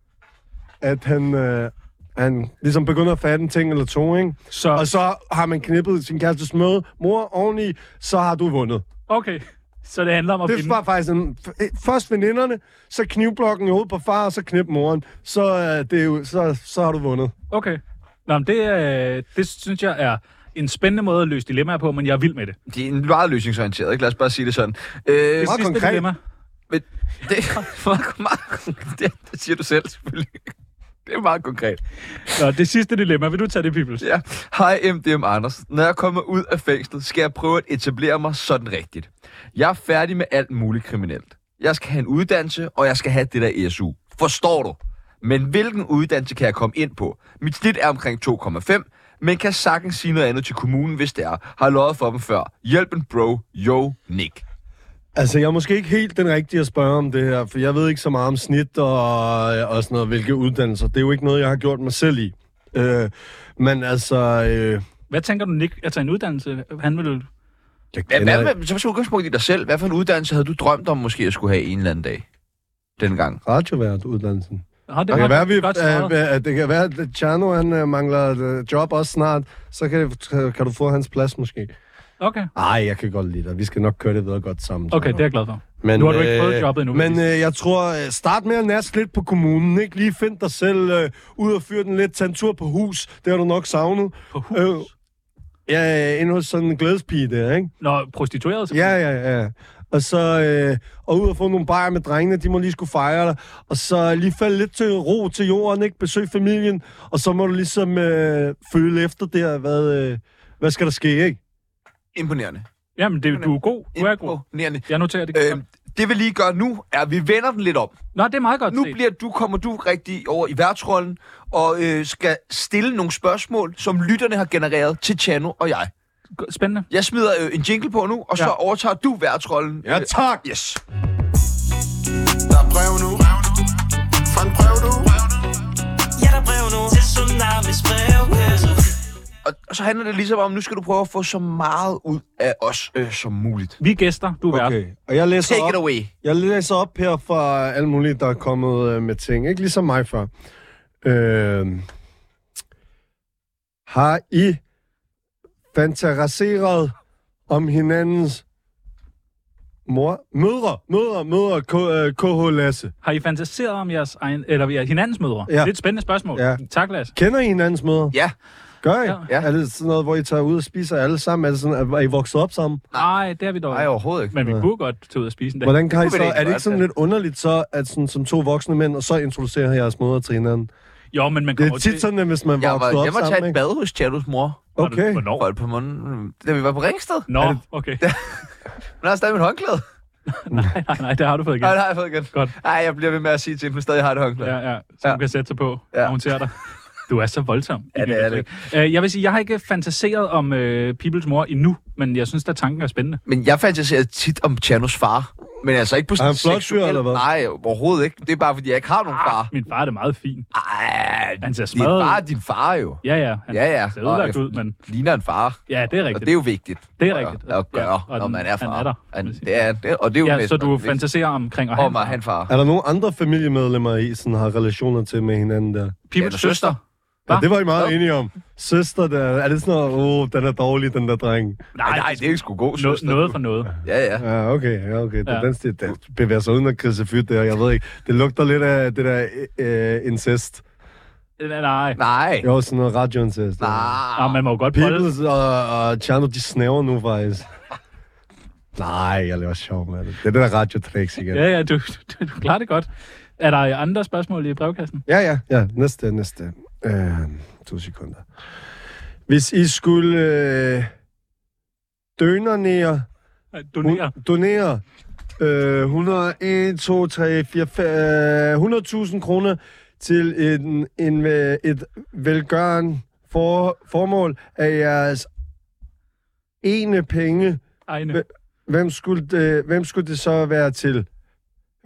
[SPEAKER 2] at han, øh, han ligesom begynder at fatte en ting eller to, ikke?
[SPEAKER 1] så...
[SPEAKER 2] Og så har man knippet sin kærestes møde, mor oveni, så har du vundet.
[SPEAKER 1] Okay, så det handler om at
[SPEAKER 2] Det
[SPEAKER 1] finde...
[SPEAKER 2] var faktisk en, f- først veninderne, så knivblokken i hovedet på far, og så knip moren. Så, øh, det er jo, så, så har du vundet.
[SPEAKER 1] Okay. Nå, men det, øh, det synes jeg er en spændende måde at løse dilemmaer på, men jeg er vild med det.
[SPEAKER 3] De er meget løsningsorienteret, ikke? Lad os bare sige det sådan. Øh,
[SPEAKER 2] Meget
[SPEAKER 1] Sidste
[SPEAKER 2] konkret.
[SPEAKER 1] dilemma.
[SPEAKER 3] men det, meget, meget, det, det siger du selv, selvfølgelig. Det er meget konkret.
[SPEAKER 1] Nå, det sidste dilemma. Vil du tage det, Pibels?
[SPEAKER 3] Ja. Hej MDM Anders. Når jeg kommer ud af fængslet, skal jeg prøve at etablere mig sådan rigtigt. Jeg er færdig med alt muligt kriminelt. Jeg skal have en uddannelse, og jeg skal have det der SU. Forstår du? Men hvilken uddannelse kan jeg komme ind på? Mit snit er omkring 2,5, men kan sagtens sige noget andet til kommunen, hvis det er. Har lovet for dem før. Hjælp en bro. Yo, Nick.
[SPEAKER 2] Altså, jeg er måske ikke helt den rigtige at spørge om det her, for jeg ved ikke så meget om snit og, øh, og sådan noget, hvilke uddannelser. Det er jo ikke noget, jeg har gjort mig selv i. Øh, men altså... Øh,
[SPEAKER 1] Hvad tænker du, Nick, at tage en uddannelse? Han vil...
[SPEAKER 2] jeg
[SPEAKER 3] Hvad,
[SPEAKER 2] kender-
[SPEAKER 3] hvad med, så måske udgangspunkt i dig selv. Hvad for en uddannelse havde du drømt om måske at skulle have en eller anden dag? Dengang.
[SPEAKER 2] radiovært uddannelsen.
[SPEAKER 1] Ah, det
[SPEAKER 2] Det kan,
[SPEAKER 1] var
[SPEAKER 2] være, vi,
[SPEAKER 1] godt svaret.
[SPEAKER 2] øh, øh, det kan være, at Chano han, øh, mangler et øh, job også snart. Så kan, kan du få hans plads måske.
[SPEAKER 1] Okay.
[SPEAKER 2] Ej, jeg kan godt lide dig. Vi skal nok køre det videre godt sammen. tror
[SPEAKER 1] Okay,
[SPEAKER 2] jeg.
[SPEAKER 1] det er jeg glad for.
[SPEAKER 2] Men,
[SPEAKER 1] Nu har du ikke prøvet jobbet endnu,
[SPEAKER 2] Men
[SPEAKER 1] Louise.
[SPEAKER 2] øh, jeg tror, øh, start med at nasse lidt på kommunen. Ikke lige find dig selv øh, ud og fyr den lidt. Tag en tur på hus. Det har du nok savnet.
[SPEAKER 1] På hus?
[SPEAKER 2] Øh, ja, øh, inde hos sådan en glædespige der, ikke?
[SPEAKER 1] Nå, prostitueret
[SPEAKER 2] Ja, ja, ja. Og så øh, og ud og få nogle bajer med drengene, de må lige skulle fejre dig. Og så lige falde lidt til ro til jorden, ikke? Besøg familien. Og så må du ligesom øh, føle efter der, hvad, øh, hvad skal der ske, ikke?
[SPEAKER 3] Imponerende.
[SPEAKER 1] Jamen, det, du er god. Du er god.
[SPEAKER 3] Imponerende.
[SPEAKER 1] Jeg noterer det.
[SPEAKER 3] Øhm, det vi lige gør nu, er, at vi vender den lidt om.
[SPEAKER 1] Nå, det er meget godt
[SPEAKER 3] Nu
[SPEAKER 1] set.
[SPEAKER 3] bliver du, kommer du rigtig over i værtsrollen, og øh, skal stille nogle spørgsmål, som lytterne har genereret til Chano og jeg.
[SPEAKER 1] Spændende.
[SPEAKER 3] Jeg smider øh, en jingle på nu, og så
[SPEAKER 1] Ja.
[SPEAKER 3] overtager du værtsrollen.
[SPEAKER 2] tak!
[SPEAKER 3] Yes.
[SPEAKER 4] Der er brev nu,
[SPEAKER 3] og så handler det ligesom om, nu skal du prøve at få så meget ud af os øh, som muligt.
[SPEAKER 1] Vi er gæster, du er okay. vært.
[SPEAKER 2] Okay, og jeg læser,
[SPEAKER 3] Take
[SPEAKER 2] op,
[SPEAKER 3] it away.
[SPEAKER 2] jeg læser op her fra alle mulige, der er kommet øh, med ting. Ikke ligesom mig før. Øh, har I fantaseret om hinandens mor? Mødre, mødre, mødre, K, øh, KH Lasse.
[SPEAKER 1] Har I fantaseret om jeres egen, eller jeres- hinandens mødre?
[SPEAKER 2] Ja.
[SPEAKER 1] Det er et spændende spørgsmål.
[SPEAKER 2] Ja.
[SPEAKER 1] Tak, Lasse.
[SPEAKER 2] Kender I hinandens mødre?
[SPEAKER 3] Ja,
[SPEAKER 2] Gør I?
[SPEAKER 3] Ja.
[SPEAKER 2] Er det sådan noget, hvor I tager ud og spiser alle sammen? Er, det sådan, er I vokset op sammen?
[SPEAKER 1] Nej, det har vi dog.
[SPEAKER 3] nej
[SPEAKER 1] ikke.
[SPEAKER 3] overhovedet ikke.
[SPEAKER 1] Men vi kunne godt tage ud og spise en dag.
[SPEAKER 2] Hvordan kan I
[SPEAKER 3] Det kunne vi
[SPEAKER 2] så, er det
[SPEAKER 3] da
[SPEAKER 2] ikke
[SPEAKER 3] egentlig
[SPEAKER 2] sådan
[SPEAKER 3] godt,
[SPEAKER 2] lidt underligt så, at sådan, som to voksne mænd, og så introducerer jeres mødre til hinanden?
[SPEAKER 1] Jo, men man
[SPEAKER 2] Det
[SPEAKER 1] kommer
[SPEAKER 2] er tit sådan, at hvis man
[SPEAKER 3] Jeg var,
[SPEAKER 2] vokser op
[SPEAKER 3] jeg var tage
[SPEAKER 2] sammen,
[SPEAKER 3] et
[SPEAKER 2] ikke?
[SPEAKER 3] bad hos Tjallos mor.
[SPEAKER 2] Okay.
[SPEAKER 1] Hvornår?
[SPEAKER 3] For et par måneder, da vi var på Ringsted.
[SPEAKER 1] Nå, okay.
[SPEAKER 3] Men der er stadig mit håndklæde.
[SPEAKER 1] Nej, nej, nej, det har du fået igen.
[SPEAKER 3] Nej, det har jeg fået igen.
[SPEAKER 1] Godt.
[SPEAKER 3] Nej, jeg bliver ved med at sige til dem, at jeg stadig har et håndklæde.
[SPEAKER 1] Ja, ja, så ja.
[SPEAKER 3] Ja.
[SPEAKER 1] hun kan sætte sig på, ja.
[SPEAKER 3] Ja.
[SPEAKER 1] og hun ser dig. Du er så voldsom.
[SPEAKER 3] Ja, det er det.
[SPEAKER 1] Øh, Jeg vil sige, jeg har ikke fantaseret om øh, Peoples mor endnu, men jeg synes, at tanken er spændende.
[SPEAKER 3] Men jeg fantaserer tit om Tjernos far. Men altså ikke på sådan
[SPEAKER 2] han flot fyr,
[SPEAKER 3] seksuel-
[SPEAKER 2] eller hvad?
[SPEAKER 3] Nej, overhovedet ikke. Det er bare, fordi jeg ikke har nogen far.
[SPEAKER 1] Min far er da meget fin.
[SPEAKER 3] Ej,
[SPEAKER 1] ah, Han ser
[SPEAKER 3] det er
[SPEAKER 1] smadret
[SPEAKER 3] bare
[SPEAKER 1] ud.
[SPEAKER 3] din far jo.
[SPEAKER 1] Ja, ja. Han
[SPEAKER 3] Ja, ja.
[SPEAKER 1] ser
[SPEAKER 3] Og
[SPEAKER 1] ødelagt
[SPEAKER 3] jeg-
[SPEAKER 1] ud, men
[SPEAKER 3] Ligner en far.
[SPEAKER 1] ja, det er
[SPEAKER 3] Og
[SPEAKER 1] rigtigt.
[SPEAKER 3] det er jo vigtigt.
[SPEAKER 1] Det er
[SPEAKER 3] at-
[SPEAKER 1] rigtigt.
[SPEAKER 3] At
[SPEAKER 1] Ja,
[SPEAKER 3] gøre,
[SPEAKER 1] og
[SPEAKER 3] når
[SPEAKER 1] den-
[SPEAKER 3] man er far.
[SPEAKER 1] han er der,
[SPEAKER 3] Han-
[SPEAKER 1] vil jeg sige.
[SPEAKER 3] det er, det, og det er jo
[SPEAKER 1] ja,
[SPEAKER 3] næsten
[SPEAKER 1] så du
[SPEAKER 3] vigtigt.
[SPEAKER 1] fantaserer omkring at
[SPEAKER 3] Om at
[SPEAKER 1] have
[SPEAKER 3] han
[SPEAKER 1] en
[SPEAKER 3] far.
[SPEAKER 2] Er der nogen andre familiemedlemmer, I sådan har relationer til med hinanden der?
[SPEAKER 1] Peoples
[SPEAKER 3] Ja, søster.
[SPEAKER 1] søster.
[SPEAKER 2] Ja,
[SPEAKER 1] Hva?
[SPEAKER 2] det var I meget
[SPEAKER 3] Hvad?
[SPEAKER 2] enige om. Søster, der, er det sådan noget, åh, oh, den er dårlig, den der dreng.
[SPEAKER 3] Nej, nej, det er ikke sgu god
[SPEAKER 1] Noget,
[SPEAKER 3] søster.
[SPEAKER 1] noget for noget.
[SPEAKER 3] Ja, ja.
[SPEAKER 2] Ja, okay, ja, okay. Ja.
[SPEAKER 1] Ja.
[SPEAKER 2] Den stil, den bevæger sig uden at krise fyrt der, jeg ved ikke. Det lugter lidt af det der øh, incest.
[SPEAKER 1] Nej, nej.
[SPEAKER 3] Nej.
[SPEAKER 2] Jo, sådan noget radioincest.
[SPEAKER 1] Ja,
[SPEAKER 3] Nej.
[SPEAKER 1] man må jo godt holde.
[SPEAKER 2] Peoples og, og Tjerno, de snæver nu faktisk. Nej, jeg laver sjov med det. Det er det der radiotricks igen.
[SPEAKER 1] Ja, ja, du, du, du klarer det godt. Er der andre spørgsmål i brevkassen?
[SPEAKER 2] Ja, ja. Ja, næste, næste. Øh, to sekunder. Hvis I skulle øh, dønernere,
[SPEAKER 1] Nej, Donere.
[SPEAKER 2] hun- donere øh, 101, 2, 3, 4, 5, øh, 100.000 kroner til en, en, øh, et velgørende for, formål af jeres ene penge,
[SPEAKER 1] Egne.
[SPEAKER 2] Hvem- hvem skulle det, øh, hvem skulle det så være til?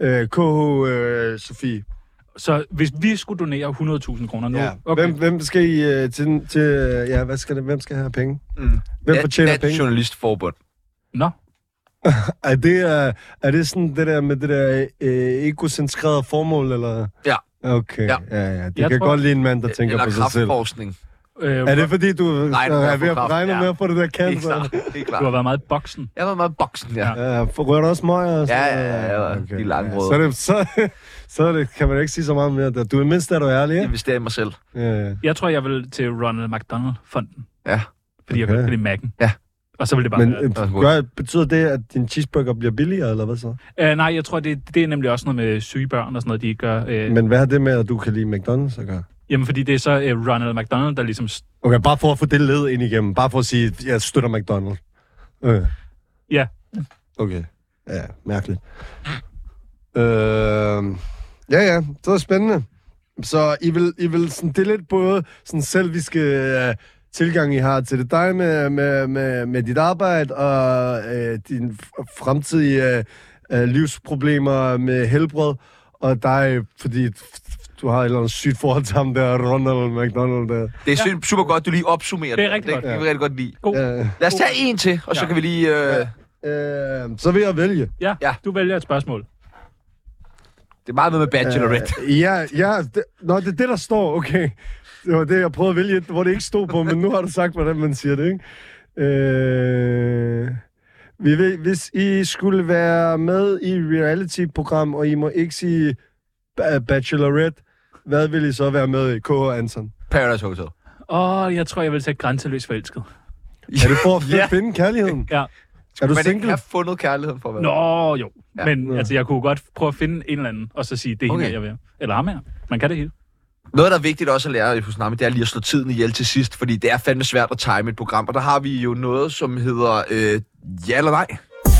[SPEAKER 2] Øh, KH øh, Sofie.
[SPEAKER 1] Så hvis vi skulle donere 100.000 kroner nu, okay.
[SPEAKER 2] Hvem, hvem skal I øh, til, til øh, ja, hvad skal det, hvem skal have penge?
[SPEAKER 3] Mm.
[SPEAKER 2] Hvem
[SPEAKER 3] Nat-
[SPEAKER 2] fortjener
[SPEAKER 3] Nat-
[SPEAKER 2] penge?
[SPEAKER 3] Journalistforbund.
[SPEAKER 1] Nå,
[SPEAKER 2] Er det, øh, er det sådan det der med det der øh, egocentrerede formål, eller?
[SPEAKER 3] Ja.
[SPEAKER 2] Okay, ja,
[SPEAKER 3] Ja.
[SPEAKER 2] ja. ja. Det
[SPEAKER 1] Jeg
[SPEAKER 2] kan
[SPEAKER 1] tror-
[SPEAKER 2] godt lide en mand, der tænker
[SPEAKER 3] Eller
[SPEAKER 2] på sig selv.
[SPEAKER 3] kraftforskning.
[SPEAKER 1] øh,
[SPEAKER 2] Er det fordi, du Nej,
[SPEAKER 3] Nej,
[SPEAKER 2] er,
[SPEAKER 3] det er
[SPEAKER 2] er ved at
[SPEAKER 3] for kraft,
[SPEAKER 2] regne
[SPEAKER 3] ja.
[SPEAKER 2] med at få det der
[SPEAKER 3] Helt
[SPEAKER 2] cancer?
[SPEAKER 3] klart. Helt klart.
[SPEAKER 1] du har været meget i boksen.
[SPEAKER 3] Jeg var meget boksen, ja.
[SPEAKER 1] Ja.
[SPEAKER 2] Ja, for- rører du også møger? og sådan
[SPEAKER 3] Ja, ja,
[SPEAKER 2] noget?
[SPEAKER 3] ja, ja, de langrøde.
[SPEAKER 2] Så, er det, så, så er det, kan man ikke sige så meget mere. der. Du er mindst, er du ærlig,
[SPEAKER 3] Jeg
[SPEAKER 2] ikke?
[SPEAKER 3] investerer i mig selv.
[SPEAKER 2] Ja, ja.
[SPEAKER 1] Jeg tror, jeg vil til Ronald McDonald-fonden.
[SPEAKER 3] Ja.
[SPEAKER 1] Fordi jeg
[SPEAKER 2] Okay.
[SPEAKER 1] godt kan lide Mac'en.
[SPEAKER 3] Ja.
[SPEAKER 1] Og så vil det bare
[SPEAKER 2] Men
[SPEAKER 1] Men,
[SPEAKER 2] øh,
[SPEAKER 3] god.
[SPEAKER 2] gør, betyder det, at din cheeseburger bliver billigere, eller hvad så?
[SPEAKER 1] være... Øh, nej, jeg tror, det, det er nemlig også noget med syge børn og sådan noget, de gør. Øh,
[SPEAKER 2] Men hvad har det med, at du kan lide McDonald's at gøre?
[SPEAKER 1] Jamen, fordi det er så øh, Ronald McDonald, der ligesom... s-
[SPEAKER 2] Okay, bare for at få det led ind igennem. Bare for at sige, at jeg støtter McDonald's. Øh.
[SPEAKER 1] Ja.
[SPEAKER 2] Okay. Ja, mærkeligt. Øh, ja, ja, det var spændende. Så I vil, I vil sådan, det er lidt både sådan selviske øh, tilgang, I har til det dig med, med, med, med dit arbejde og øh, dine f- fremtidige øh, øh, livsproblemer med helbred, og dig, fordi f- du har et eller andet sygt forhold til ham der, Ronald McDonald der.
[SPEAKER 3] Det er ja. super godt, du lige opsummerer
[SPEAKER 1] Det er rigtig
[SPEAKER 3] det.
[SPEAKER 1] godt.
[SPEAKER 3] Det kan vi rigtig godt lide.
[SPEAKER 2] Ja.
[SPEAKER 3] Lad os tage en til, og så
[SPEAKER 1] Ja.
[SPEAKER 3] kan vi lige... Øh,
[SPEAKER 2] Øh, så vil jeg vælge.
[SPEAKER 1] Ja, ja,
[SPEAKER 3] Ja.
[SPEAKER 1] du vælger et spørgsmål.
[SPEAKER 3] det er meget noget med Bachelorette.
[SPEAKER 2] Øh, ja, ja. Det, nå, det er det, der står. Okay. Det var det, jeg prøvede at vælge, hvor det ikke stod på, men nu har du sagt, hvordan man siger det, ikke? Øh, vi ved, hvis I skulle være med i et reality-program, og I må ikke sige ba- Bachelorette, hvad vil I så være med i? K.H. Anson.
[SPEAKER 3] Paradise Hotel.
[SPEAKER 1] Åh, jeg tror, jeg vil tage grænseløs forelsket.
[SPEAKER 2] Er det for at
[SPEAKER 3] Ja.
[SPEAKER 2] finde kærligheden?
[SPEAKER 1] Ja.
[SPEAKER 2] Er du
[SPEAKER 3] Men ikke
[SPEAKER 2] single?
[SPEAKER 3] have fundet kærligheden for mig.
[SPEAKER 1] Nå, jo. Ja.
[SPEAKER 3] Ja.
[SPEAKER 1] Men
[SPEAKER 2] Ja.
[SPEAKER 1] altså, jeg kunne godt prøve at finde en eller anden, og så sige, det er okay.
[SPEAKER 3] Okay.
[SPEAKER 1] hende, jeg vil. Eller ham her. Man kan det hele.
[SPEAKER 3] Noget, der er vigtigt også at lære hos Nami, det er lige at slå tiden ihjel til sidst, fordi det er fandme svært at time et program, og der har vi jo noget, som hedder øh, ja eller nej.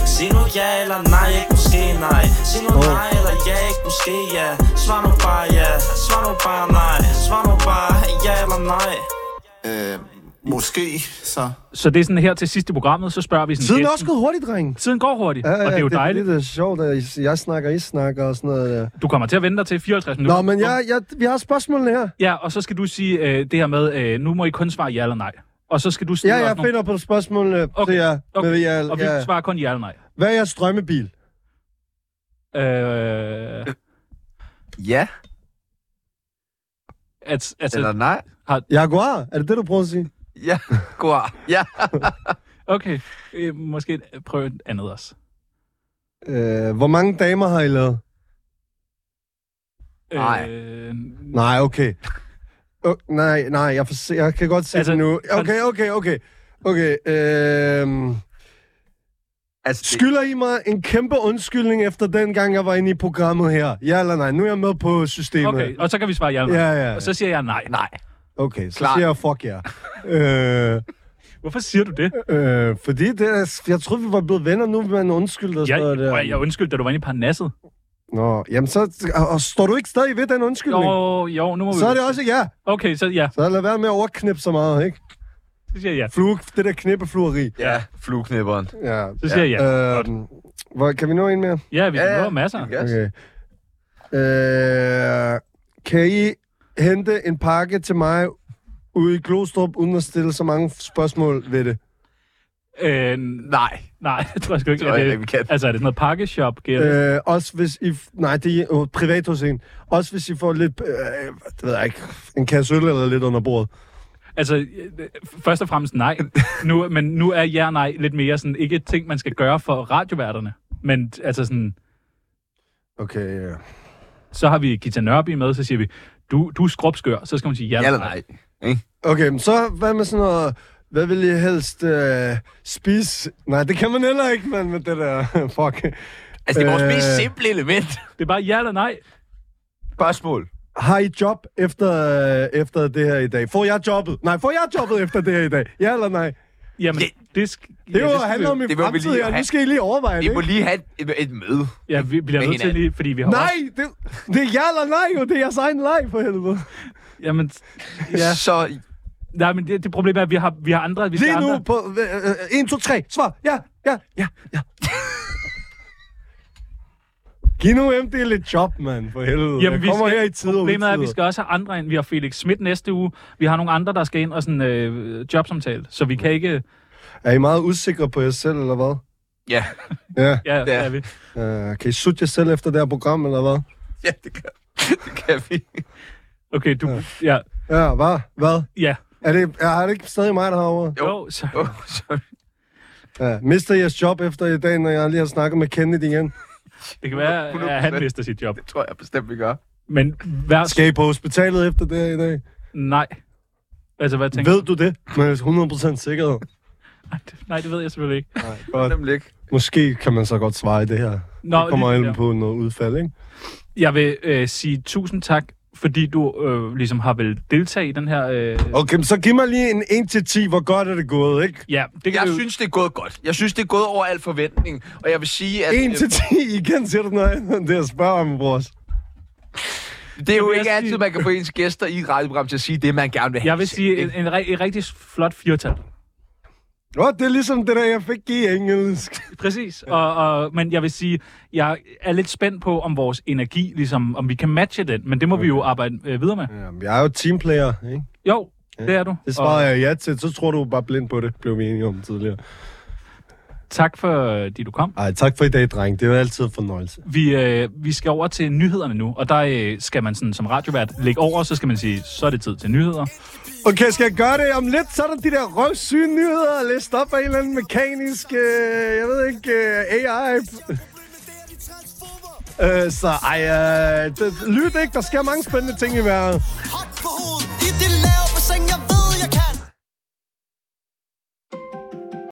[SPEAKER 9] Sig nu ja eller nej, ikke måske nej Sig nu oh. nej eller ja, ikke måske ja Svar nu bare ja, svar nu bare nej Svar nu bare ja eller nej
[SPEAKER 10] Øh, måske, så.
[SPEAKER 1] Så det er sådan her til sidst i programmet, så spørger vi sådan...
[SPEAKER 2] Tiden er
[SPEAKER 1] gæsten-
[SPEAKER 2] også gået hurtigt, drenge.
[SPEAKER 1] Tiden går hurtigt,
[SPEAKER 2] Ja, ja,
[SPEAKER 1] og det er jo
[SPEAKER 2] det,
[SPEAKER 1] dejligt.
[SPEAKER 2] Det, det er sjovt, at I- jeg snakker, I snakker og sådan noget der.
[SPEAKER 1] Du kommer til at vente dig til 54 minutter.
[SPEAKER 2] Nå, men jeg, jeg, vi har spørgsmålene her.
[SPEAKER 1] Ja, og så skal du sige øh, det her med, øh, nu må I kun svare ja eller nej. og så skal du stille
[SPEAKER 2] Ja, jeg
[SPEAKER 1] os nogle...
[SPEAKER 2] finder på øh, spørgsmålene okay.
[SPEAKER 1] Okay,
[SPEAKER 2] til jer.
[SPEAKER 1] okay.
[SPEAKER 2] Med jer
[SPEAKER 1] Og vi
[SPEAKER 2] ja.
[SPEAKER 1] svarer kun ja eller nej.
[SPEAKER 2] Hvad er jeres drømmebil?
[SPEAKER 1] Øh,
[SPEAKER 3] Ja,
[SPEAKER 1] at,
[SPEAKER 3] eller
[SPEAKER 1] altså,
[SPEAKER 3] nej.
[SPEAKER 2] Jaguar? Er det det, du prøver at sige?
[SPEAKER 3] Ja, god. Ja.
[SPEAKER 1] okay, øh, måske prøv et andet også.
[SPEAKER 2] Øh, hvor mange damer har I lavet?
[SPEAKER 3] Nej.
[SPEAKER 1] Øh,
[SPEAKER 2] Nej, okay. Oh, nej, nej, jeg, for, se- jeg kan godt se
[SPEAKER 1] Altså,
[SPEAKER 2] altså, det nu.
[SPEAKER 1] kon-
[SPEAKER 2] Okay, okay, okay. Okay, øh,
[SPEAKER 3] Altså, det-
[SPEAKER 2] skylder I mig en kæmpe undskyldning efter den gang, jeg var inde i programmet her? Ja eller nej? Nu er jeg med på systemet.
[SPEAKER 1] okay, og så kan vi svare ja eller nej.
[SPEAKER 2] Ja, ja, ja.
[SPEAKER 1] Og så siger jeg nej.
[SPEAKER 3] Nej.
[SPEAKER 2] Okay, så
[SPEAKER 3] Klar.
[SPEAKER 2] siger jeg fuck jer. Yeah.
[SPEAKER 1] Hvorfor siger du det?
[SPEAKER 2] øh, øh, fordi det er, jeg troede, vi var blevet venner nu, men undskyld og
[SPEAKER 1] Jeg,
[SPEAKER 2] sådan noget der.
[SPEAKER 1] jeg, jeg undskyld, da du var inde i Parnasset.
[SPEAKER 2] Nå, jamen så og, og står du ikke stadig ved den undskyldning?
[SPEAKER 1] Jo, jo, nu må vi...
[SPEAKER 2] Så er det også ja.
[SPEAKER 1] Okay, så ja,
[SPEAKER 2] Så lad være med at overknippe så meget, ikke?
[SPEAKER 1] så siger jeg ja.
[SPEAKER 2] Flue, det der knippeflueri.
[SPEAKER 3] Ja, flueknipperen.
[SPEAKER 2] Ja.
[SPEAKER 1] Så siger jeg ja.
[SPEAKER 2] Øhm, hvor, kan vi nå en mere?
[SPEAKER 1] Ja, vi
[SPEAKER 3] Ja, ja.
[SPEAKER 1] ja, masser.
[SPEAKER 3] Gas.
[SPEAKER 2] Okay. Øh, kan I hente en pakke til mig ude i Glostrup, uden at stille så mange spørgsmål ved det?
[SPEAKER 1] Øh,
[SPEAKER 3] Nej,
[SPEAKER 1] nej, det tror jeg sgu ikke.
[SPEAKER 3] det tror jeg
[SPEAKER 1] Er
[SPEAKER 3] ikke,
[SPEAKER 1] det-
[SPEAKER 3] vi kan.
[SPEAKER 1] Altså, er det sådan noget pakkeshop? Øh,
[SPEAKER 2] Øh, også hvis I... f- Nej, det er jo privat hos en. Også hvis I får lidt... Øh, det ved jeg ikke. En kasse øl eller lidt under bordet.
[SPEAKER 1] altså, øh, først og fremmest nej. Nu, men nu er ja nej lidt mere sådan, ikke et ting, man skal gøre for radioværterne. Men altså sådan,
[SPEAKER 2] Okay, ja.
[SPEAKER 1] så har vi Gita Nørby med, så siger vi, du, du er skrubskør, så skal man sige ja,
[SPEAKER 3] Ja eller nej.
[SPEAKER 2] Okay, men så hvad med sådan noget... Hvad vil I helst øh, spise? Nej, det kan man heller ikke, mand, med det der. Fuck.
[SPEAKER 3] Altså, det er vores
[SPEAKER 2] Øh.
[SPEAKER 3] mest simple element.
[SPEAKER 1] Det er bare ja eller nej.
[SPEAKER 3] Spørgsmål.
[SPEAKER 2] Har I job efter, øh, efter det her i dag? Får jeg jobbet? Nej, får jeg jobbet efter det her i dag? Ja eller nej?
[SPEAKER 1] Jamen,
[SPEAKER 3] Det-
[SPEAKER 1] det, det, sk-
[SPEAKER 2] Det
[SPEAKER 1] ja,
[SPEAKER 2] er jo
[SPEAKER 1] skal vi-
[SPEAKER 2] handler om min
[SPEAKER 3] det må vi
[SPEAKER 2] fremtid
[SPEAKER 3] lige
[SPEAKER 2] her. Nu
[SPEAKER 3] have.
[SPEAKER 2] skal I lige overveje det,
[SPEAKER 3] Vi må
[SPEAKER 2] ikke?
[SPEAKER 3] lige have et, et møde.
[SPEAKER 1] Ja, vi bliver
[SPEAKER 3] med
[SPEAKER 1] nødt til
[SPEAKER 3] hinanden.
[SPEAKER 1] lige, fordi vi har
[SPEAKER 2] Nej,
[SPEAKER 1] også-
[SPEAKER 2] det, det er ja eller nej jo. Det er jeres egen leg, for helvede.
[SPEAKER 1] Jamen, ja.
[SPEAKER 3] Ja. Så
[SPEAKER 1] Nej, men det, det problem er, at vi har, vi har andre... Vi skal
[SPEAKER 2] Lige nu
[SPEAKER 1] andre.
[SPEAKER 2] på øh, øh, 1, 2, 3. Svar. Ja, ja, ja, ja. Giv nu MD lidt job, mand, for helvede. Jamen, jeg kommer her i tid og
[SPEAKER 1] Problemet er, at vi
[SPEAKER 2] utide.
[SPEAKER 1] skal også have andre ind. Vi har Felix Schmidt næste uge. Vi har nogle andre, der skal ind og sådan øh, jobsamtale. Så vi kan ikke...
[SPEAKER 2] Er I meget usikre på jer selv, eller hvad?
[SPEAKER 3] ja.
[SPEAKER 2] Ja.
[SPEAKER 1] Ja, ja. Er vi.
[SPEAKER 2] Øh, kan I sutte jer selv efter det her program, eller hvad?
[SPEAKER 3] ja, det kan, det kan vi.
[SPEAKER 1] Okay, du... Ja.
[SPEAKER 2] Ja, hvad? Hvad?
[SPEAKER 1] Ja.
[SPEAKER 2] Er det, er, er det ikke stadig mig, der har ordet?
[SPEAKER 1] Jo,
[SPEAKER 3] Jo.
[SPEAKER 1] jo så...
[SPEAKER 3] Oh, sorry.
[SPEAKER 2] Ja, mister jeres job efter i dag, når jeg lige har snakket med Kenneth igen?
[SPEAKER 1] Det kan være, at han
[SPEAKER 3] 100%.
[SPEAKER 1] mister sit job.
[SPEAKER 3] Det tror jeg bestemt, vi gør.
[SPEAKER 1] Men hver...
[SPEAKER 2] Skal I på hospitalet efter det her i dag?
[SPEAKER 1] Nej. Altså, hvad tænker
[SPEAKER 2] Ved du det? Med 100% sikkerhed.
[SPEAKER 1] Nej, det- Nej, det ved jeg selvfølgelig ikke.
[SPEAKER 2] Godt.
[SPEAKER 3] Nemlig ikke.
[SPEAKER 2] Måske kan man så godt svare i det her.
[SPEAKER 1] Nå,
[SPEAKER 2] det kommer
[SPEAKER 1] lige det
[SPEAKER 2] an
[SPEAKER 1] der.
[SPEAKER 2] på noget udfald, ikke?
[SPEAKER 1] Jeg vil øh, sige tusind tak, fordi du øh, ligesom har vel deltaget i den her... Øh...
[SPEAKER 2] Okay, men så giv mig lige en 1-10, hvor godt er det gået, ikke?
[SPEAKER 1] Ja, det kan
[SPEAKER 3] Jeg
[SPEAKER 1] vi jo-
[SPEAKER 3] synes, det er gået godt. Jeg synes, det er gået over al forventning. Og jeg vil sige, at
[SPEAKER 2] 1-10, igen siger du noget andet end det, jeg spørger om, brors.
[SPEAKER 3] øh, det er jo
[SPEAKER 1] vil jeg
[SPEAKER 3] ikke
[SPEAKER 1] sige-
[SPEAKER 3] altid, man kan få ens gæster i et radioprogram til at sige det, man gerne vil have.
[SPEAKER 1] Jeg vil sige en,
[SPEAKER 3] Ikke?
[SPEAKER 1] en, re- en rigtig flot firtal.
[SPEAKER 2] Nå, det er ligesom det der, jeg fik i engelsk.
[SPEAKER 1] Præcis. Og, og, men jeg vil sige, jeg er lidt spændt på, om vores energi, ligesom, om vi kan matche den. Men det må vi jo arbejde øh, videre med.
[SPEAKER 2] Jamen, jeg er jo teamplayer, ikke?
[SPEAKER 1] Jo, det er du.
[SPEAKER 2] Det svarede
[SPEAKER 1] og
[SPEAKER 2] jeg ja til, så tror du bare blind på det, blev vi enige om tidligere.
[SPEAKER 1] tak for, at du kom.
[SPEAKER 2] Ej, tak for i dag, dreng. Det var altid en fornøjelse.
[SPEAKER 1] Vi, øh, vi skal over til nyhederne nu, og der øh, skal man sådan, som radiovært lægge over, så skal man sige, så er det tid til nyheder.
[SPEAKER 2] Okay, skal jeg gøre det om lidt? Så er der de der røvsyge nyheder læst op af en eller anden mekanisk, øh, jeg ved ikke, øh, AI. Øh, så ej, øh, det, lyt ikke, der sker mange spændende ting i verden.
[SPEAKER 4] Hop på hovedet i det